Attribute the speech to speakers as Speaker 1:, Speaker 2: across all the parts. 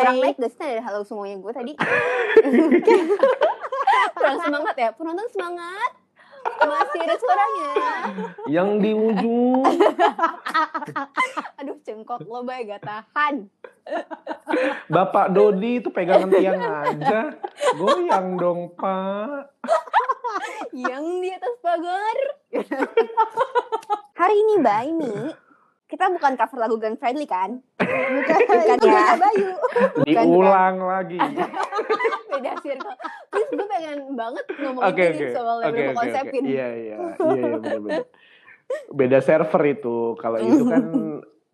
Speaker 1: kurang naik gak sih dari halo semuanya gue tadi? kurang semangat ya? Penonton semangat? Masih ada suaranya.
Speaker 2: Yang di ujung.
Speaker 1: Aduh cengkok lo bay gak tahan.
Speaker 2: Bapak Dodi itu pegangan tiang aja. Goyang dong, Pak.
Speaker 1: Yang di atas pagar. Hari ini Bay Mi, kita bukan cover lagu Glenn Fredly kan? Bukan, bukan
Speaker 3: itu
Speaker 1: ya?
Speaker 3: beda Bayu.
Speaker 1: bukan.
Speaker 2: Diulang lagi.
Speaker 1: Beda circle. Please gue pengen banget ngomongin
Speaker 2: Oke,
Speaker 1: ini
Speaker 2: oke.
Speaker 1: soal
Speaker 2: Oke,
Speaker 1: okay,
Speaker 2: oke, oke.
Speaker 1: konsepin.
Speaker 2: Iya, iya. Iya, iya, benar-benar. Beda server itu. Kalau itu kan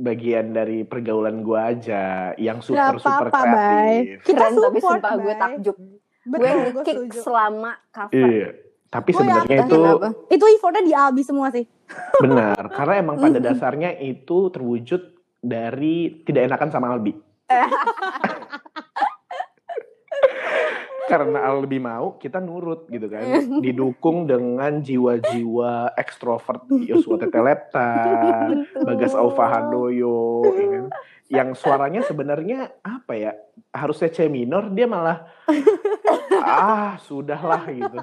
Speaker 2: bagian dari pergaulan gua aja yang super super
Speaker 3: apa-apa, Bay.
Speaker 2: kreatif.
Speaker 1: Keren
Speaker 3: Kita
Speaker 1: tapi
Speaker 3: support,
Speaker 1: sumpah gue
Speaker 3: Bay.
Speaker 1: takjub. Gue
Speaker 3: Betul, gue
Speaker 1: ngekick
Speaker 3: setuju.
Speaker 1: selama cover.
Speaker 2: Iya. Tapi
Speaker 3: Gua
Speaker 2: sebenarnya
Speaker 1: yakin
Speaker 2: itu
Speaker 1: kenapa.
Speaker 3: Itu effortnya di Albi semua sih.
Speaker 2: benar karena emang pada dasarnya itu terwujud dari tidak enakan sama Albi. karena Albi mau, kita nurut gitu kan. Didukung dengan jiwa-jiwa ekstrovert Yosua Tetelepta, eh, Bagas Aufa Handoyo, ya kan? yang suaranya sebenarnya apa ya? Harusnya C minor dia malah ah sudahlah gitu.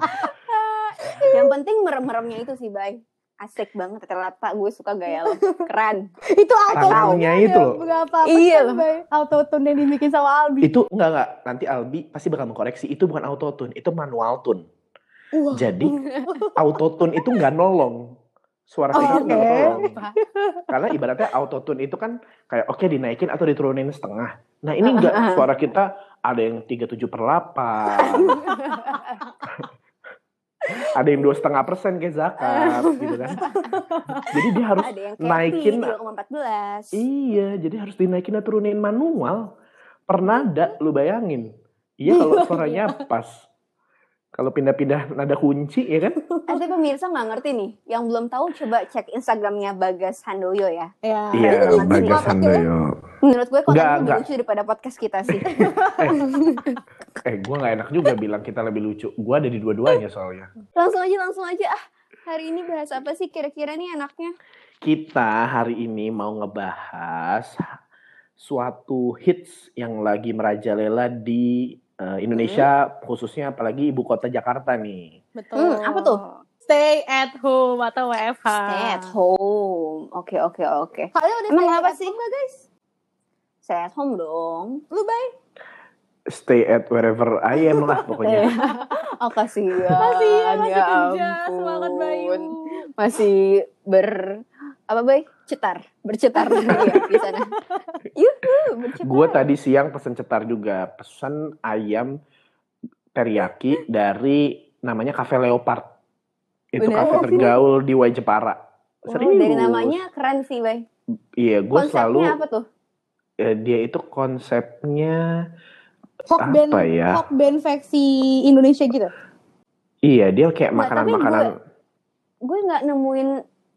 Speaker 1: Yang penting merem-meremnya itu sih, Bay. Asik banget terlata gue suka gaya lo. Keren.
Speaker 3: Itu auto
Speaker 2: Tangannya itu loh.
Speaker 3: Berapa
Speaker 1: Iya loh.
Speaker 3: Auto tune yang dibikin sama Albi.
Speaker 2: Itu enggak enggak nanti Albi pasti bakal mengkoreksi itu bukan auto tune, itu manual tune.
Speaker 3: Wah.
Speaker 2: Jadi auto tune itu nggak nolong. Suara
Speaker 3: Oh,
Speaker 2: kita nggak
Speaker 3: Oke.
Speaker 2: nolong. Karena ibaratnya autotune itu kan kayak oke dinaikin atau diturunin setengah. Nah ini enggak suara kita ada yang 37 per 8. ada yang dua setengah persen kayak zakat gitu kan. Jadi dia harus
Speaker 1: Ada yang
Speaker 2: naikin.
Speaker 1: Kathy 2,14.
Speaker 2: iya jadi harus dinaikin atau turunin manual. Per nada lu bayangin. Hmm. Iya kalau suaranya pas. Kalau pindah-pindah nada kunci ya kan.
Speaker 1: Nanti Eh, pemirsa nggak ngerti nih. Yang belum tahu coba cek Instagramnya Bagas Handoyo ya.
Speaker 3: Iya.
Speaker 1: Iya, Bagas
Speaker 2: Handoyo.
Speaker 1: Menurut gue
Speaker 2: Nggak,
Speaker 1: kontennya lebih
Speaker 2: nggak.
Speaker 1: lucu daripada podcast kita sih.
Speaker 2: Eh, gue gak enak juga bilang kita lebih lucu. Gue ada di dua-duanya soalnya.
Speaker 1: langsung aja, langsung aja. Ah, hari ini bahas apa sih kira-kira nih anaknya?
Speaker 2: Kita hari ini mau ngebahas suatu hits yang lagi merajalela di eh, Indonesia, khususnya apalagi ibu kota Jakarta nih.
Speaker 3: Betul.
Speaker 1: Hmm, apa tuh? Ah.
Speaker 3: Stay at home atau WFH.
Speaker 1: Stay at home. Oke, oke, oke.
Speaker 3: Kalian udah
Speaker 1: Emang
Speaker 3: stay
Speaker 1: apa
Speaker 3: at
Speaker 1: sih?
Speaker 3: home nggak, guys?
Speaker 1: Stay at home dong.
Speaker 3: Lu bay
Speaker 2: Stay at wherever I am lah pokoknya. gitu.
Speaker 1: Oh, kasihan.
Speaker 3: masih ya, masih
Speaker 1: ya
Speaker 3: kerja.
Speaker 1: ampun.
Speaker 3: Semangat Bayu.
Speaker 1: masih ber apa bay cetar bercetar ya, di sana yuhu bercetar
Speaker 2: gue tadi siang pesen cetar juga. Pesan ayam
Speaker 1: Hmm?
Speaker 2: teriyaki dari namanya Cafe Leopard. Itu
Speaker 1: Beneran
Speaker 2: kafe
Speaker 1: sih?
Speaker 2: tergaul di Wai Jepara.
Speaker 1: Wow,
Speaker 2: Serius.
Speaker 1: dari namanya keren sih bay
Speaker 2: Iya, gue
Speaker 1: konsepnya
Speaker 2: selalu
Speaker 1: apa tuh
Speaker 2: eh, dia itu konsepnya
Speaker 3: Hok
Speaker 2: Apa
Speaker 3: band,
Speaker 2: ya?
Speaker 3: hok band versi Indonesia gitu.
Speaker 2: iya dia
Speaker 1: Nggak, tapi
Speaker 2: kayak makanan-makanan
Speaker 1: gue nggak nemuin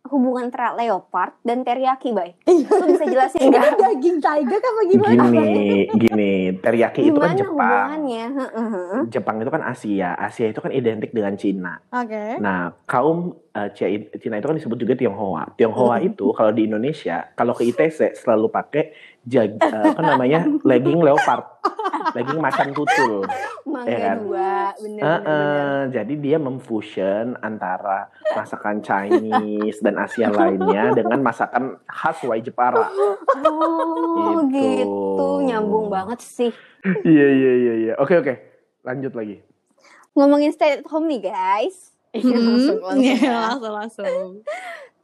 Speaker 1: hubungan antara leopard dan teriyaki bay
Speaker 3: Iya.
Speaker 1: lu bisa jelasin nggak
Speaker 3: Daging tiger apa gimana?
Speaker 2: gini gini teriyaki itu
Speaker 1: gimana
Speaker 2: kan Jepang
Speaker 1: hubungannya Heeh.
Speaker 2: Jepang itu kan Asia Asia itu kan identik dengan Cina
Speaker 3: Oke.
Speaker 2: nah kaum eh, Ci- Cina itu kan disebut juga Tionghoa Tionghoa itu kalau di Indonesia kalau ke ITC selalu pakai jag, eh, apa namanya legging leopard legging macan tutul
Speaker 1: mangga
Speaker 2: Ya kan?
Speaker 1: dua bener
Speaker 2: Eh,
Speaker 1: bener, bener.
Speaker 2: eh, jadi dia memfusion antara masakan Chinese dan Asia lainnya dengan masakan khas Wai Jepara.
Speaker 1: oh
Speaker 2: Gitu.
Speaker 1: gitu nyambung banget sih
Speaker 2: Iya iya iya iya. Oke oke. Lanjut lagi.
Speaker 1: ngomongin stay at home nih guys
Speaker 3: Iya,
Speaker 1: ya.
Speaker 3: langsung langsung.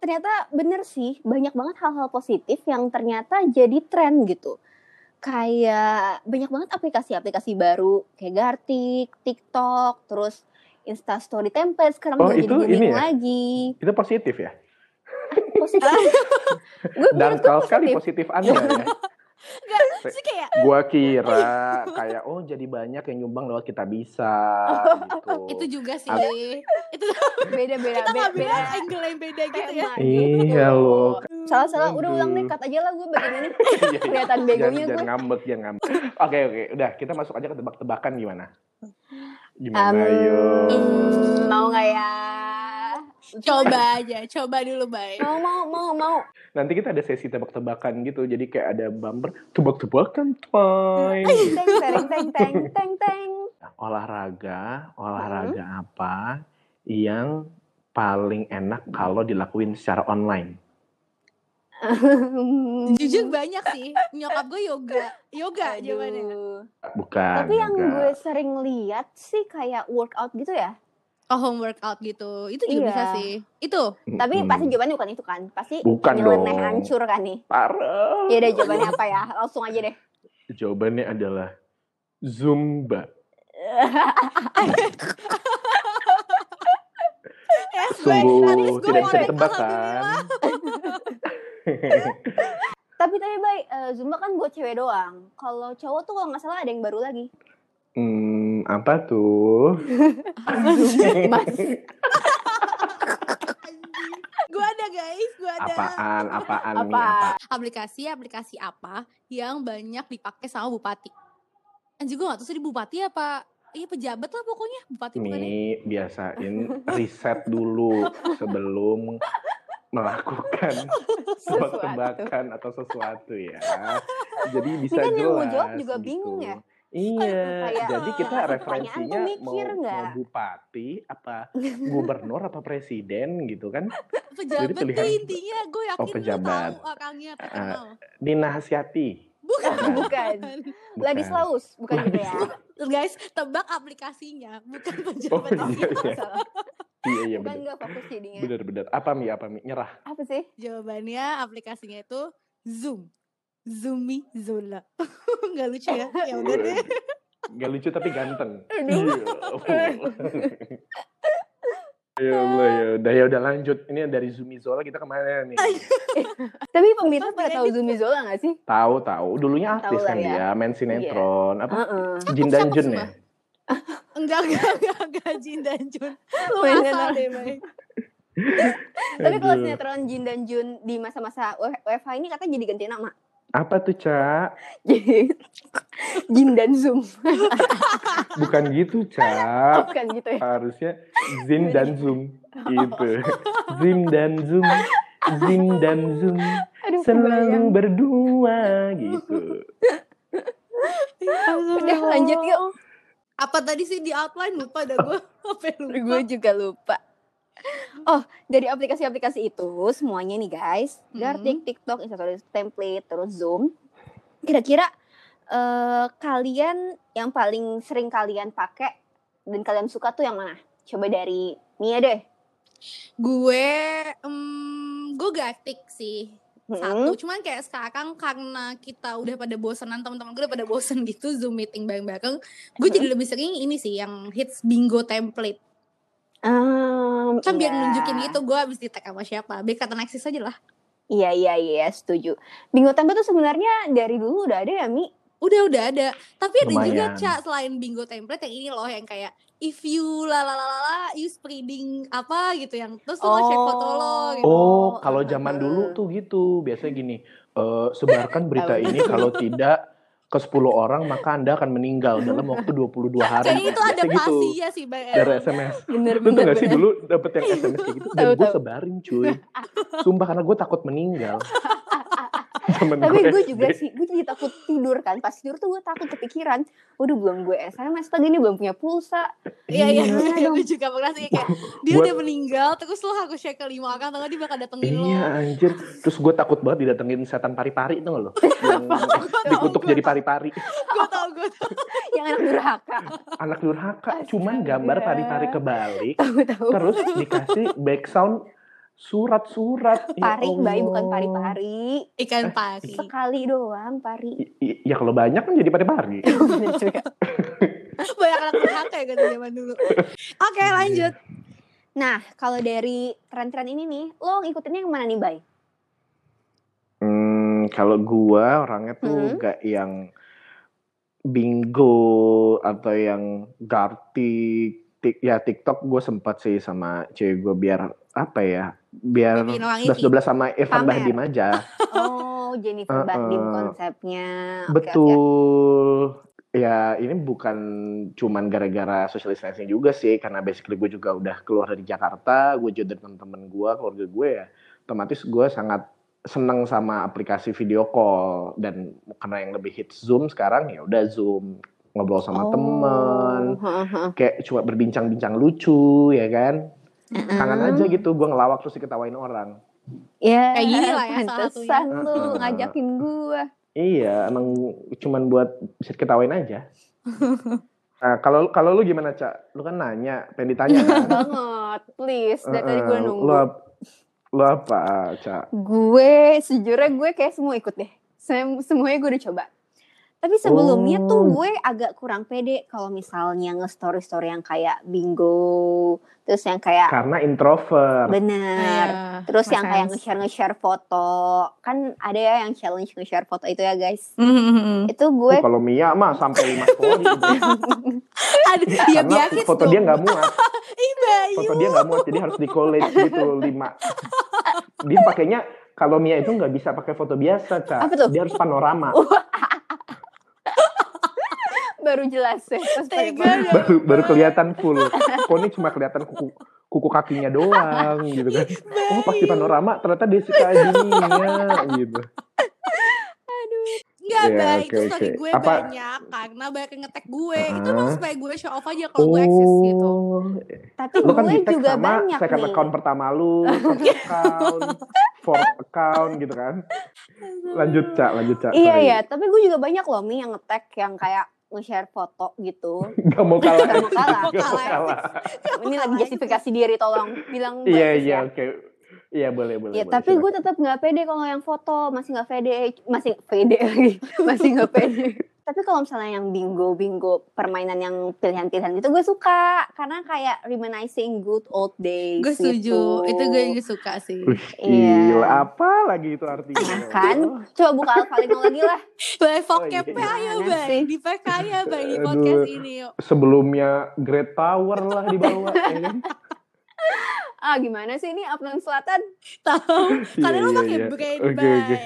Speaker 1: ternyata bener sih banyak banget hal-hal positif yang ternyata jadi tren gitu kayak banyak banget aplikasi-aplikasi baru kayak Gartik, TikTok, terus Insta Story template sekarang
Speaker 2: Oh,
Speaker 1: udah jadi
Speaker 2: itu ini
Speaker 1: booming
Speaker 2: ya?
Speaker 1: lagi Ah.
Speaker 2: Itu positif ya.
Speaker 1: positif gue
Speaker 2: Dan
Speaker 1: menurut gue
Speaker 2: kalau sekali
Speaker 1: positif
Speaker 2: positif Anda ya.
Speaker 3: Terus kayak
Speaker 1: Iya.
Speaker 2: Gua kira kayak oh jadi banyak yang nyumbang lewat kita bisa
Speaker 3: itu
Speaker 2: gitu.
Speaker 3: juga sih.
Speaker 2: Ada-
Speaker 3: Itu
Speaker 1: beda beda
Speaker 3: kita
Speaker 1: beda,
Speaker 3: nggak bilang angle yang beda gitu ya.
Speaker 2: Iya loh.
Speaker 1: salah salah udah ulang deh
Speaker 2: Aduh.
Speaker 1: cut aja lah gue bagian ini
Speaker 2: Iya, iya.
Speaker 1: kelihatan
Speaker 2: jangan,
Speaker 1: begonya
Speaker 2: jangan
Speaker 1: gue
Speaker 2: ngambek, jangan ngambek. Oke oke, udah kita masuk aja ke tebak-tebakan gimana? Gimana
Speaker 1: Um,
Speaker 2: yo?
Speaker 1: hmm, mau nggak ya
Speaker 3: Coba aja, coba dulu baik.
Speaker 1: mau mau mau mau
Speaker 2: Nanti kita ada sesi tebak-tebakan gitu. Jadi kayak ada bumper tebak-tebakan
Speaker 1: teng
Speaker 2: time.
Speaker 1: teng teng teng teng teng
Speaker 2: olahraga, olahraga
Speaker 1: Mm.
Speaker 2: apa yang paling enak kalau dilakuin secara online?
Speaker 3: Jujur banyak sih. Nyokap gue yoga. Yoga jawabannya.
Speaker 1: Aduh.
Speaker 2: Bukan.
Speaker 1: tapi yang
Speaker 2: enggak.
Speaker 1: gue sering lihat sih kayak workout gitu ya
Speaker 3: Oh home workout gitu. Itu juga
Speaker 1: Iya.
Speaker 3: bisa sih. Itu.
Speaker 1: tapi
Speaker 2: Mm-mm.
Speaker 1: pasti jawabannya bukan itu kan pasti
Speaker 2: Hmm. Bukan
Speaker 1: nyeleneh
Speaker 2: dong.
Speaker 1: hancur kan nih
Speaker 2: parah.
Speaker 1: ya udah jawabannya apa ya langsung aja deh
Speaker 2: Jawabannya adalah Zumba.
Speaker 3: Yes,
Speaker 2: Sungguh tidak bisa
Speaker 1: boleh.
Speaker 2: ditebak kan?
Speaker 1: tapi tapi baik zumba kan buat cewek doang kalau cowok tuh kalau nggak salah ada yang baru lagi
Speaker 2: hmm, apa tuh?
Speaker 3: Gue ada guys, gue ada.
Speaker 2: apaan? Apaan nih?
Speaker 1: Apaan?
Speaker 2: Apa?
Speaker 3: Aplikasi-aplikasi apa yang banyak dipakai sama bupati? Anjir gue gak tahu sih di bupati apa. Iya pejabat lah pokoknya. Bupati bukan ya?
Speaker 2: Nih biasain riset dulu sebelum melakukan sebuah
Speaker 1: Sesuatu.
Speaker 2: tebakan atau sesuatu ya. Jadi bisa
Speaker 1: Ini kan
Speaker 2: jelas.
Speaker 1: yang mau jawab juga
Speaker 2: gitu.
Speaker 1: bingung ya?
Speaker 2: Iya,
Speaker 1: Kayak,
Speaker 2: jadi kita
Speaker 1: eh,
Speaker 2: referensinya
Speaker 1: pertanyaan tuh
Speaker 2: mau,
Speaker 1: mikir nggak?
Speaker 2: mau bupati apa gubernur apa presiden gitu kan
Speaker 3: Pejabat
Speaker 2: pilihan-
Speaker 3: deh intinya. Gue yakin
Speaker 2: Oh, pejabat.
Speaker 3: lu tahu orangnya apa
Speaker 2: Ah,
Speaker 3: kenal.
Speaker 2: dinasihati.
Speaker 3: Bukan.
Speaker 1: bukan
Speaker 2: Bukan.
Speaker 1: Ladislaus bukan gitu ya
Speaker 3: Guys, tebak aplikasinya. Bukan
Speaker 2: Oh
Speaker 3: pejabat.
Speaker 2: iya iya
Speaker 1: Salah.
Speaker 2: iya iya
Speaker 1: bukan
Speaker 2: benar.
Speaker 1: nggak fokus jadinya
Speaker 2: Benar benar. Apa mi apa mi nyerah.
Speaker 1: apa sih
Speaker 3: Jawabannya aplikasinya itu Zoom. Zoomi Zola. Gak lucu ya? Ya
Speaker 2: Oh,
Speaker 3: udah deh.
Speaker 2: iya. Gak lucu tapi ganteng. Iya.
Speaker 1: Aduh.
Speaker 2: ya Allah ya udah ya udah lanjut. Ini dari Zumi Zola kita kemana nih?
Speaker 1: tapi pemirsa
Speaker 3: Apa
Speaker 1: pada
Speaker 3: bedanya?
Speaker 1: tahu Zumi Zola nggak sih
Speaker 2: Tahu tahu dulunya
Speaker 1: Tahu
Speaker 2: artis
Speaker 1: lah
Speaker 2: kan
Speaker 1: ya.
Speaker 2: dia, main sinetron apa
Speaker 1: Heeh.
Speaker 2: Jin dan
Speaker 3: Cakep-cakep
Speaker 2: Jun
Speaker 3: semua.
Speaker 2: ya.
Speaker 3: Enggak, enggak, enggak, enggak. Jin dan Jun. Lu
Speaker 1: Main
Speaker 3: asal
Speaker 1: sinetron.
Speaker 3: deh, Mai.
Speaker 1: tapi kalau
Speaker 2: Aduh.
Speaker 1: sinetron Jin dan Jun di masa-masa WFH ini katanya jadi ganti nama
Speaker 2: Apa tuh, Cak?
Speaker 1: jadi Jin dan Zoom
Speaker 2: Bukan gitu, Cak.
Speaker 1: bukan gitu ya
Speaker 2: Harusnya Zin dan Zoom gitu. Zim dan Zoom. Zim dan Zoom
Speaker 1: aduh kebayang.
Speaker 2: selalu berdua gitu.
Speaker 1: udah lanjut yuk
Speaker 3: Apa tadi sih di outline? Lupa dah gue. Apa yang lupa?
Speaker 1: gue juga lupa oh dari aplikasi-aplikasi itu semuanya nih guys
Speaker 3: Hmm.
Speaker 1: Gartik, TikTok, Instastories, template, terus Zoom kira-kira eh, kalian yang paling sering kalian pakai dan kalian suka tuh yang mana coba dari Mia deh
Speaker 3: Gue, em, gue gatik sih.
Speaker 1: Mm-mm.
Speaker 3: satu
Speaker 2: Hmm?
Speaker 3: cuman kayak sekarang karena kita udah pada bosenan teman-teman gue udah pada bosen gitu zoom meeting bareng-bareng gue jadi lebih sering ini sih yang hits bingo template
Speaker 1: Um,
Speaker 3: kan biar
Speaker 1: iya.
Speaker 3: nunjukin itu gue abis di tag sama siapa biar kata neksis aja lah
Speaker 1: Iya iya iya setuju. Bingo Tempe tuh sebenarnya dari dulu udah ada ya Mi.
Speaker 3: udah udah ada tapi ada juga
Speaker 2: Lumayan.
Speaker 3: cak selain bingo template yang ini loh yang kayak if you lalalala you spreading apa gitu yang terus lo cek foto lo gitu
Speaker 2: Oh,
Speaker 1: Oh, ah,
Speaker 2: kalau
Speaker 1: ah,
Speaker 2: zaman
Speaker 1: ah.
Speaker 2: dulu tuh gitu. Biasanya gini, eh, sebarkan berita
Speaker 1: Tahu.
Speaker 2: ini kalau tidak ke 10 orang maka Anda akan meninggal dalam waktu 22 hari.
Speaker 3: jadi itu ada
Speaker 2: Biasanya gitu.
Speaker 3: pasinya sih Bang
Speaker 2: Dari
Speaker 3: Aaron.
Speaker 2: SMS.
Speaker 1: Bener Iya,
Speaker 2: Lu tuh gak sih dulu dapet yang SMS kayak gitu? Dan
Speaker 1: Tahu,
Speaker 2: gue
Speaker 1: tahu.
Speaker 2: sebarin cuy. Sumpah karena gue takut meninggal. Zaman
Speaker 1: Tapi gue
Speaker 2: SD.
Speaker 1: juga sih, gue jadi takut tidur kan. Pas tidur tuh gue takut kepikiran. Udah belum gue SMS lagi nih belum punya pulsa.
Speaker 3: Iya iya,
Speaker 1: Gimana
Speaker 3: iya, gue
Speaker 1: dong?
Speaker 3: juga merasa kayak dia
Speaker 2: Buat-
Speaker 3: udah meninggal terus lo harus cek ke lima orang tau gak dia bakal datengin lo.
Speaker 2: Iya anjir. Terus gue takut banget didatengin setan pari-pari tuh gak lo? Yang dikutuk jadi pari-pari.
Speaker 3: Gue tau gue tau.
Speaker 1: Yang anak durhaka.
Speaker 2: Anak durhaka cuman gambar
Speaker 1: Astaga.
Speaker 2: pari-pari kebalik.
Speaker 1: Tahu tahu.
Speaker 2: terus dikasih background surat-surat Ya
Speaker 1: Pari, bayi
Speaker 2: Allah.
Speaker 1: bukan pari-pari.
Speaker 2: Eh.
Speaker 3: Ikan pari.
Speaker 1: Sekali doang pari.
Speaker 2: I- i- ya kalau banyak kan jadi pari-pari
Speaker 1: Bener juga.
Speaker 3: Banyak anak durhaka ya gitu zaman dulu. Oke
Speaker 2: Iya.
Speaker 3: lanjut.
Speaker 1: nah, kalau dari tren-tren ini nih, lo ngikutinnya yang mana nih, Bay?
Speaker 2: Hmm, kalau gua orangnya
Speaker 1: Hmm.
Speaker 2: tuh gak yang bingo atau yang gartik Tik- ya TikTok gue sempat sih sama cewek gue biar apa ya biar
Speaker 3: Bikin orang
Speaker 2: 11 12 sama Irfan
Speaker 1: Pamer.
Speaker 2: Bahdim aja
Speaker 1: Oh, Jennifer
Speaker 2: Uh-uh.
Speaker 1: Bahdim konsepnya. Oke, oke.
Speaker 2: betul Ya ini bukan cuman gara-gara social distancing juga sih, karena basically gue juga udah keluar dari Jakarta, gue jodoh teman-teman gue, keluarga gue ya, otomatis gue sangat seneng sama aplikasi video call dan karena yang lebih hits Zoom sekarang ya udah Zoom ngobrol
Speaker 1: Oh,
Speaker 2: sama temen,
Speaker 1: ha-ha.
Speaker 2: kayak cuma berbincang-bincang lucu ya kan, kangen
Speaker 1: Mm-mm.
Speaker 2: aja gitu gue ngelawak terus diketawain orang.
Speaker 1: Ya,
Speaker 3: Kayak gini lah ya, salah
Speaker 1: pantesan
Speaker 2: satunya.
Speaker 1: lu
Speaker 2: Mm-mm.
Speaker 1: ngajakin gua.
Speaker 2: Iya, emang cuman buat bisa ketawain aja. Nah, kalau kalau lu gimana, Cak? Lu kan nanya, pengen ditanya kan?
Speaker 1: banget, please. Dari tadi
Speaker 2: Heeh,
Speaker 1: gua nunggu.
Speaker 2: Lu, ap- lu apa, Cak?
Speaker 1: Gue sejujurnya gue kayak semua ikut deh. Sem- semuanya gue udah coba. Tapi sebelumnya tuh
Speaker 2: Oh.
Speaker 1: gue agak kurang pede kalau misalnya nge-story-story yang kayak bingo, terus yang kayak
Speaker 2: Karena introvert.
Speaker 1: bener.
Speaker 3: Ah,
Speaker 1: Terus
Speaker 3: makes
Speaker 1: yang kayak
Speaker 3: sense.
Speaker 1: nge-share nge-share foto, kan ada ya yang challenge nge-share foto itu ya guys.
Speaker 3: Mhm.
Speaker 1: Itu
Speaker 2: Tuh,
Speaker 1: gue
Speaker 2: kalau Mia mah sampai lima story. gitu.
Speaker 3: Aduh, ya
Speaker 1: Iya,
Speaker 2: Karena
Speaker 3: biarin
Speaker 2: foto dia nggak muat,
Speaker 3: Ih, Bayu.
Speaker 2: foto dia nggak muat, jadi harus di college gitu lima. Dia pakainya kalau Mia itu nggak bisa pakai foto biasa,
Speaker 1: Apa
Speaker 2: Cak.
Speaker 1: tuh?
Speaker 2: Dia harus panorama.
Speaker 1: baru jelas ya. terus pakai
Speaker 3: Tega
Speaker 1: foto.
Speaker 3: ya.
Speaker 2: baru baru kelihatan full. Kok ini cuma kelihatan kuku kuku kakinya doang gitu kan. Oh pas di panorama ternyata Desika gininya gitu.
Speaker 3: Enggak,
Speaker 2: Iya,
Speaker 3: Bay.
Speaker 2: oke,
Speaker 3: itu story
Speaker 2: oke.
Speaker 3: gue
Speaker 2: Apa-
Speaker 3: banyak karena banyak yang ngetek gue. Itu
Speaker 2: Ah.
Speaker 3: emang supaya gue show off aja kalau gue eksis gitu.
Speaker 1: Oh, Tapi
Speaker 2: Oh. Lu kan
Speaker 1: gue
Speaker 2: di tag
Speaker 1: juga
Speaker 2: sama
Speaker 1: banyak
Speaker 2: second
Speaker 1: nih.
Speaker 2: account pertama lu, third account, fourth account gitu kan. Lanjut Cak, lanjut Cak.
Speaker 1: Iya
Speaker 2: sorry.
Speaker 1: ya, tapi gue juga banyak loh Mi yang nge-tag yang kayak nge-share foto gitu.
Speaker 2: Gak mau kalah.
Speaker 1: Gak mau kalah.
Speaker 2: Gak mau kalah.
Speaker 1: Ini lagi justifikasi diri tolong bilang gue
Speaker 2: Iya
Speaker 1: eksis
Speaker 2: iya
Speaker 1: ya.
Speaker 2: oke. Iya boleh boleh.
Speaker 1: Ya,
Speaker 2: boleh,
Speaker 1: tapi
Speaker 2: silakan.
Speaker 1: gue tetap nggak pede kalau yang foto masih nggak pede, masih pede lagi, masih nggak pede. tapi kalau misalnya yang bingo bingo permainan yang pilihan-pilihan itu gue suka karena kayak reminiscing good old days.
Speaker 3: Gue setuju.
Speaker 1: gitu.
Speaker 3: Itu gue juga suka sih.
Speaker 2: Wih,
Speaker 1: Iya.
Speaker 2: gila apa lagi itu artinya?
Speaker 1: Nah, kan? Coba buka Alvalino lagi lah.
Speaker 3: Bay,
Speaker 2: iya.
Speaker 3: vocabnya ayo,
Speaker 1: Gimana sih?
Speaker 3: Bay. Dipakai ya, Bay, di
Speaker 2: Aduh.
Speaker 3: podcast ini. Yuk.
Speaker 2: Sebelumnya Great Tower lah dibawa. ya kan?
Speaker 1: Ah gimana sih ini Afnan Selatan?
Speaker 3: Tahu. Karena
Speaker 2: Iya,
Speaker 3: lu
Speaker 2: iya,
Speaker 3: pakai
Speaker 2: iya.
Speaker 3: brain,
Speaker 2: Oke,
Speaker 3: Bay.
Speaker 2: oke.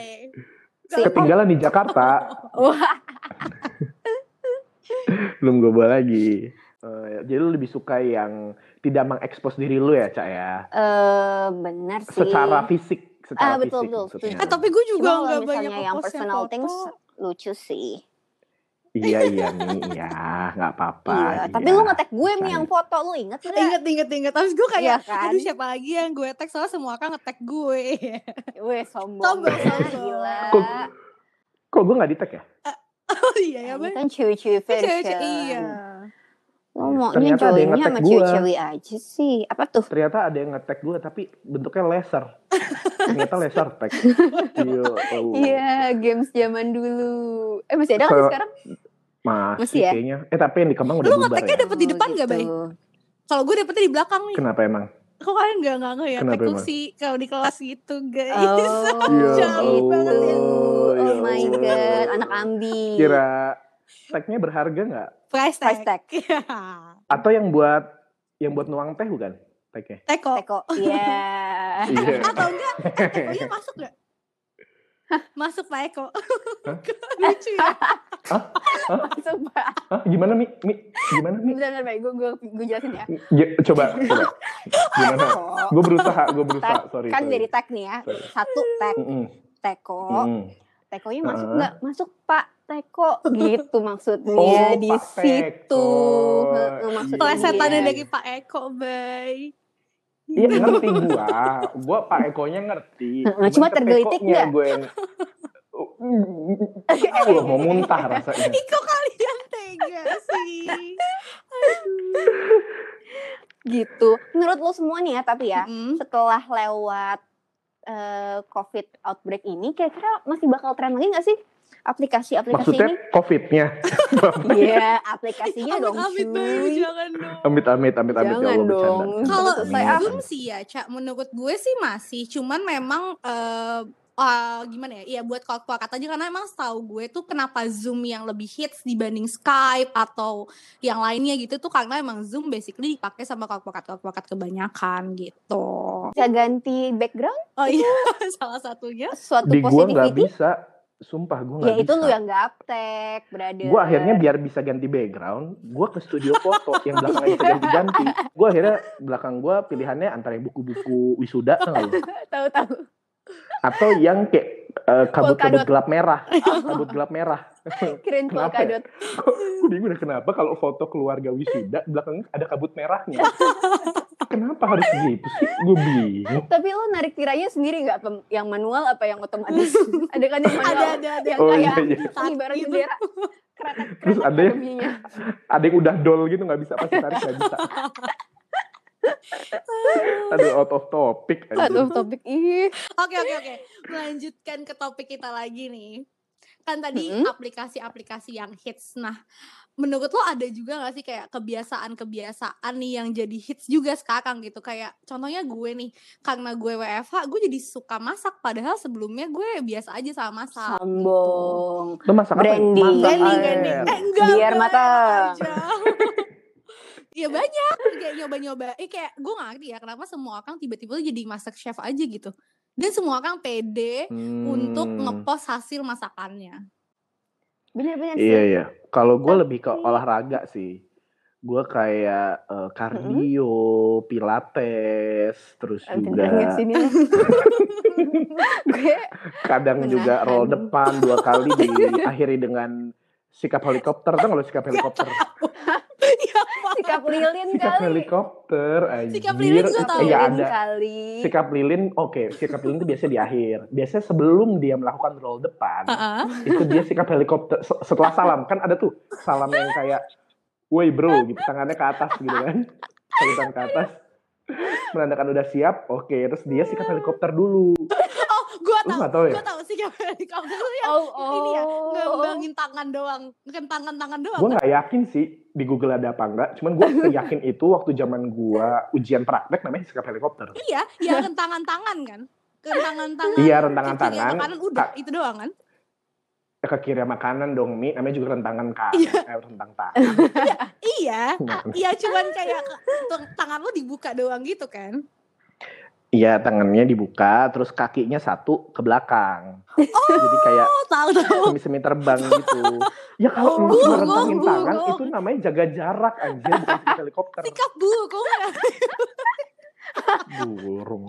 Speaker 1: Si-
Speaker 2: Ketinggalan di Jakarta,
Speaker 1: Wah,
Speaker 2: belum gue bawa lagi. Eh, jadi lu lebih suka yang tidak mengekspos diri lu ya, Cak ya.
Speaker 1: eh benar sih.
Speaker 2: Secara fisik,
Speaker 1: Ah,
Speaker 2: secara
Speaker 1: betul,
Speaker 2: fisik.
Speaker 1: betul,
Speaker 2: maksudnya.
Speaker 1: setuju.
Speaker 3: Eh, tapi gue
Speaker 1: Cuma
Speaker 3: juga
Speaker 1: kalau
Speaker 3: nggak banyak
Speaker 1: misalnya yang
Speaker 3: ngepost
Speaker 1: personal
Speaker 3: foto.
Speaker 1: things lucu sih.
Speaker 2: Iya, iya, Mi, iya, nggak apa-apa.
Speaker 1: Iya, tapi
Speaker 2: iya.
Speaker 1: lu ngetek gue nih
Speaker 2: Saya-
Speaker 1: yang foto lu inget gak?
Speaker 3: Ingat, ingat, ingat. Abis gue kayak,
Speaker 1: Iya kan?
Speaker 3: aduh siapa lagi yang gue tag soalnya semua kan ngetek gue.
Speaker 1: Weh sombong.
Speaker 3: Sombong,
Speaker 1: ya,
Speaker 3: sombong.
Speaker 1: Gila.
Speaker 2: Kok, kok gue nggak di tag ya?
Speaker 3: oh iya ya,
Speaker 1: Ini
Speaker 3: Bay.
Speaker 1: kan cewek-cewek
Speaker 3: Itu
Speaker 1: version.
Speaker 3: cewek- Iya.
Speaker 1: Lu maunya
Speaker 2: Iya, Ternyata ada yang
Speaker 1: joinnya
Speaker 2: ngetek
Speaker 1: sama
Speaker 2: gua.
Speaker 1: cewek-cewek aja sih. Apa tuh?
Speaker 2: Ternyata ada yang nge-tag gue, tapi bentuknya laser. Ternyata laser tag. Iya, oh.
Speaker 1: Iya, games zaman dulu. Eh masih ada nggak sih
Speaker 2: Kalau-
Speaker 1: sekarang?
Speaker 2: Masih,
Speaker 1: Masih ya?
Speaker 2: kayaknya. Eh, tapi yang di Kemang udah
Speaker 3: Lu
Speaker 2: bubar
Speaker 3: ngeteknya
Speaker 2: ya.
Speaker 3: dapet di depan nggak, Bay?
Speaker 1: Gitu.
Speaker 3: Kalau gue dapetnya di belakang nih.
Speaker 2: Kenapa emang?
Speaker 3: Kok kalian gak nggak nge ya?
Speaker 2: Kenapa
Speaker 3: Tekuk
Speaker 2: emang?
Speaker 3: sih kalau di kelas gitu guys.
Speaker 1: Oh,
Speaker 2: Iya,
Speaker 1: gitu.
Speaker 2: Allah, ya
Speaker 1: Oh my
Speaker 2: Allah.
Speaker 1: god, anak ambi.
Speaker 2: Kira
Speaker 1: Iya.
Speaker 2: tagnya berharga nggak?
Speaker 3: Price tag.
Speaker 1: Price tag.
Speaker 3: Iya.
Speaker 2: Atau yang buat yang buat nuang teh bukan? Tagnya.
Speaker 3: Teko.
Speaker 1: Teko. Iya.
Speaker 2: Iya.
Speaker 3: Atau enggak? Eh, tekonya masuk gak? Masuk Pak Eko. Lucu ya.
Speaker 1: Masuk, Pak.
Speaker 2: Hah, gimana Mi? Mi? Gimana Mi?
Speaker 1: Bentar, bentar, Pak. Gue gue gue jelasin ya.
Speaker 2: Ya, coba, coba. Gimana?
Speaker 1: Teko.
Speaker 2: Gue berusaha, gue berusaha.
Speaker 1: Tag,
Speaker 2: Sorry.
Speaker 1: kan Oh.
Speaker 2: sorry.
Speaker 1: dari tag nih ya.
Speaker 2: Sorry.
Speaker 1: Satu tag,
Speaker 2: Mm-mm,
Speaker 1: teko.
Speaker 2: mm-mm.
Speaker 1: Tekonya masuk
Speaker 2: Hmm. Heeh.
Speaker 1: nggak? Masuk Pak Teko gitu maksudnya
Speaker 2: Oh,
Speaker 1: di
Speaker 2: Pak
Speaker 1: situ. Oh,
Speaker 2: Teko.
Speaker 1: Heeh, maksudnya
Speaker 3: Pelesetannya
Speaker 1: dia.
Speaker 3: dari Pak Eko, Bay. Gitu.
Speaker 2: Iya ngerti gua, gua Pak Eko-nya ngerti.
Speaker 1: Cuma tergelitik nggak?
Speaker 2: tekoknya Gue yang Allah mau muntah rasanya.
Speaker 3: Ih, kok kalian tega sih?
Speaker 1: Iya. gitu. Menurut lo semua nih ya, tapi ya
Speaker 3: Mm.
Speaker 1: setelah lewat eh, COVID outbreak ini, kira-kira masih bakal tren lagi nggak sih aplikasi-aplikasi
Speaker 2: Maksudnya
Speaker 1: ini?
Speaker 2: COVID-nya.
Speaker 1: Iya, aplikasinya dong.
Speaker 3: Amit-amit, Bay.
Speaker 1: cuy.
Speaker 3: Jangan dong.
Speaker 2: Amit amit amit amit ya
Speaker 1: Jangan
Speaker 2: Allah bercanda.
Speaker 1: dong.
Speaker 3: Kalau
Speaker 1: Terus
Speaker 2: saya-
Speaker 3: Zoom sih ya, Cak, menurut gue sih masih. Cuman memang eh eh, gimana ya? Iya buat kalau katanya karena emang setahu gue tuh kenapa Zoom yang lebih hits dibanding Skype atau yang lainnya gitu tuh karena emang Zoom basically dipakai sama korporat-korporat kebanyakan gitu.
Speaker 1: Bisa ganti background
Speaker 3: Oh iya, salah satunya.
Speaker 1: suatu
Speaker 2: Di gua nggak
Speaker 1: positivity.
Speaker 2: bisa. Sumpah gue
Speaker 1: ya
Speaker 2: nggak
Speaker 1: itu lu
Speaker 2: bisa.
Speaker 1: yang gaptek, brother.
Speaker 2: Gue akhirnya biar bisa ganti background, gue ke studio foto yang belakang itu ganti-ganti. Gue akhirnya belakang gue pilihannya antara yang buku-buku wisuda tau nggak lu?
Speaker 1: tahu-tahu.
Speaker 2: atau yang kayak eh, kabut-kabut
Speaker 3: Polkadot.
Speaker 2: gelap merah, kabut gelap merah.
Speaker 1: Keren
Speaker 2: Kenapa ya?
Speaker 1: polkadot.
Speaker 2: Gue bingung deh kenapa kalau foto keluarga wisuda belakangnya ada kabut merahnya. Kenapa harus gitu sih? Gue bingung.
Speaker 1: Tapi lu narik tirainya sendiri nggak Pem? yang manual apa yang otomatis? ada kan yang manual
Speaker 3: ada ada ada
Speaker 1: yang
Speaker 2: Oh iya
Speaker 1: kayak
Speaker 2: iya.
Speaker 1: ibarat
Speaker 3: Gitu.
Speaker 1: bendera. Kretek-
Speaker 2: Terus
Speaker 1: kretek
Speaker 2: ada yang-
Speaker 1: bunyinya.
Speaker 2: Ada yang udah dol gitu nggak bisa pasti tarik nggak bisa. Aduh out of topic. anjing.
Speaker 1: Aduh, topik ih.
Speaker 3: Oke oke oke. Melanjutkan ke topik kita lagi nih. Kan tadi
Speaker 1: Mm-mm.
Speaker 3: aplikasi-aplikasi yang hits. Nah, menurut lo ada juga gak sih kayak kebiasaan-kebiasaan nih yang jadi hits juga sekarang gitu. Kayak contohnya gue nih, karena gue WFH, gue jadi suka masak padahal sebelumnya gue biasa aja sama masak.
Speaker 1: Sambong.
Speaker 2: Lu masak apa? ya?
Speaker 1: Branding.
Speaker 2: Masak
Speaker 3: Ganding,
Speaker 2: air.
Speaker 3: ganding. Eh, enggak,
Speaker 1: Biar
Speaker 3: gue
Speaker 1: matang.
Speaker 3: aja. ya banyak kayak nyoba-nyoba. Eh kayak gue gak ngerti ya kenapa semua orang tiba-tiba tuh jadi masak chef aja gitu. Dan semua orang pede
Speaker 2: Hmm.
Speaker 3: untuk ngepost hasil masakannya.
Speaker 1: Bener-bener sih.
Speaker 2: Iya iya. Kalau gue
Speaker 1: Tapi-
Speaker 2: lebih ke olahraga sih. Gue kayak eh, kardio, pilates, terus
Speaker 1: Ah,
Speaker 2: juga
Speaker 1: Beneran gak sih ini? Gue
Speaker 2: kadang juga
Speaker 1: Menahan.
Speaker 2: roll depan dua kali diakhiri dengan sikap helikopter. Tahu nggak lo sikap helikopter?
Speaker 3: Iya, Pak.
Speaker 1: sikap lilin
Speaker 2: Sikap
Speaker 1: kali.
Speaker 2: helikopter. Anjir.
Speaker 3: Sikap lilin gua tahu.
Speaker 2: Eh, ya
Speaker 1: lilin
Speaker 2: ada.
Speaker 1: kali.
Speaker 2: Sikap lilin, oke. Sikap lilin itu biasanya di akhir. Biasanya sebelum dia melakukan roll depan,
Speaker 3: Heeh.
Speaker 2: itu dia sikap helikopter Se- setelah salam kan ada tuh salam yang kayak woi bro gitu tangannya ke atas gitu kan salutan ke atas menandakan udah siap oke terus dia sikap helikopter dulu
Speaker 3: Oh, gua
Speaker 2: lu
Speaker 3: tahu.
Speaker 2: nggak tahu ya
Speaker 3: Gua tahu sikap helikopter tuh yang
Speaker 1: Oh,
Speaker 3: ini ya,
Speaker 1: oh.
Speaker 3: ngembangin tangan doang, kentangan tangan doang.
Speaker 2: gue nggak yakin sih di Google ada apa enggak cuman gue yakin itu waktu zaman gue ujian praktek namanya sikap helikopter
Speaker 3: Iya, ya kentangan tangan kan. Kentangan tangan.
Speaker 2: Iya, rentangan tangan.
Speaker 3: Kanan udah, itu doang kan.
Speaker 2: ya, ke kiri makanan dong mi namanya juga rentangan kan
Speaker 3: Iya.
Speaker 2: eh, rentang tangan
Speaker 3: Iya,
Speaker 2: Nah.
Speaker 3: iya cuman kayak ke- tong- tangan lu dibuka doang gitu kan.
Speaker 2: iya tangannya dibuka terus kakinya satu ke belakang jadi kayak
Speaker 3: Oh, tahu tahu.
Speaker 2: semi-semi terbang gitu. ya
Speaker 1: Oh,
Speaker 2: kalau lu
Speaker 3: Burung,
Speaker 2: cuma rentangin
Speaker 3: burung.
Speaker 2: tangan itu namanya jaga jarak anjir bukan seperti helikopter.
Speaker 1: Iya,
Speaker 3: Sikap burung ya.
Speaker 2: Burung.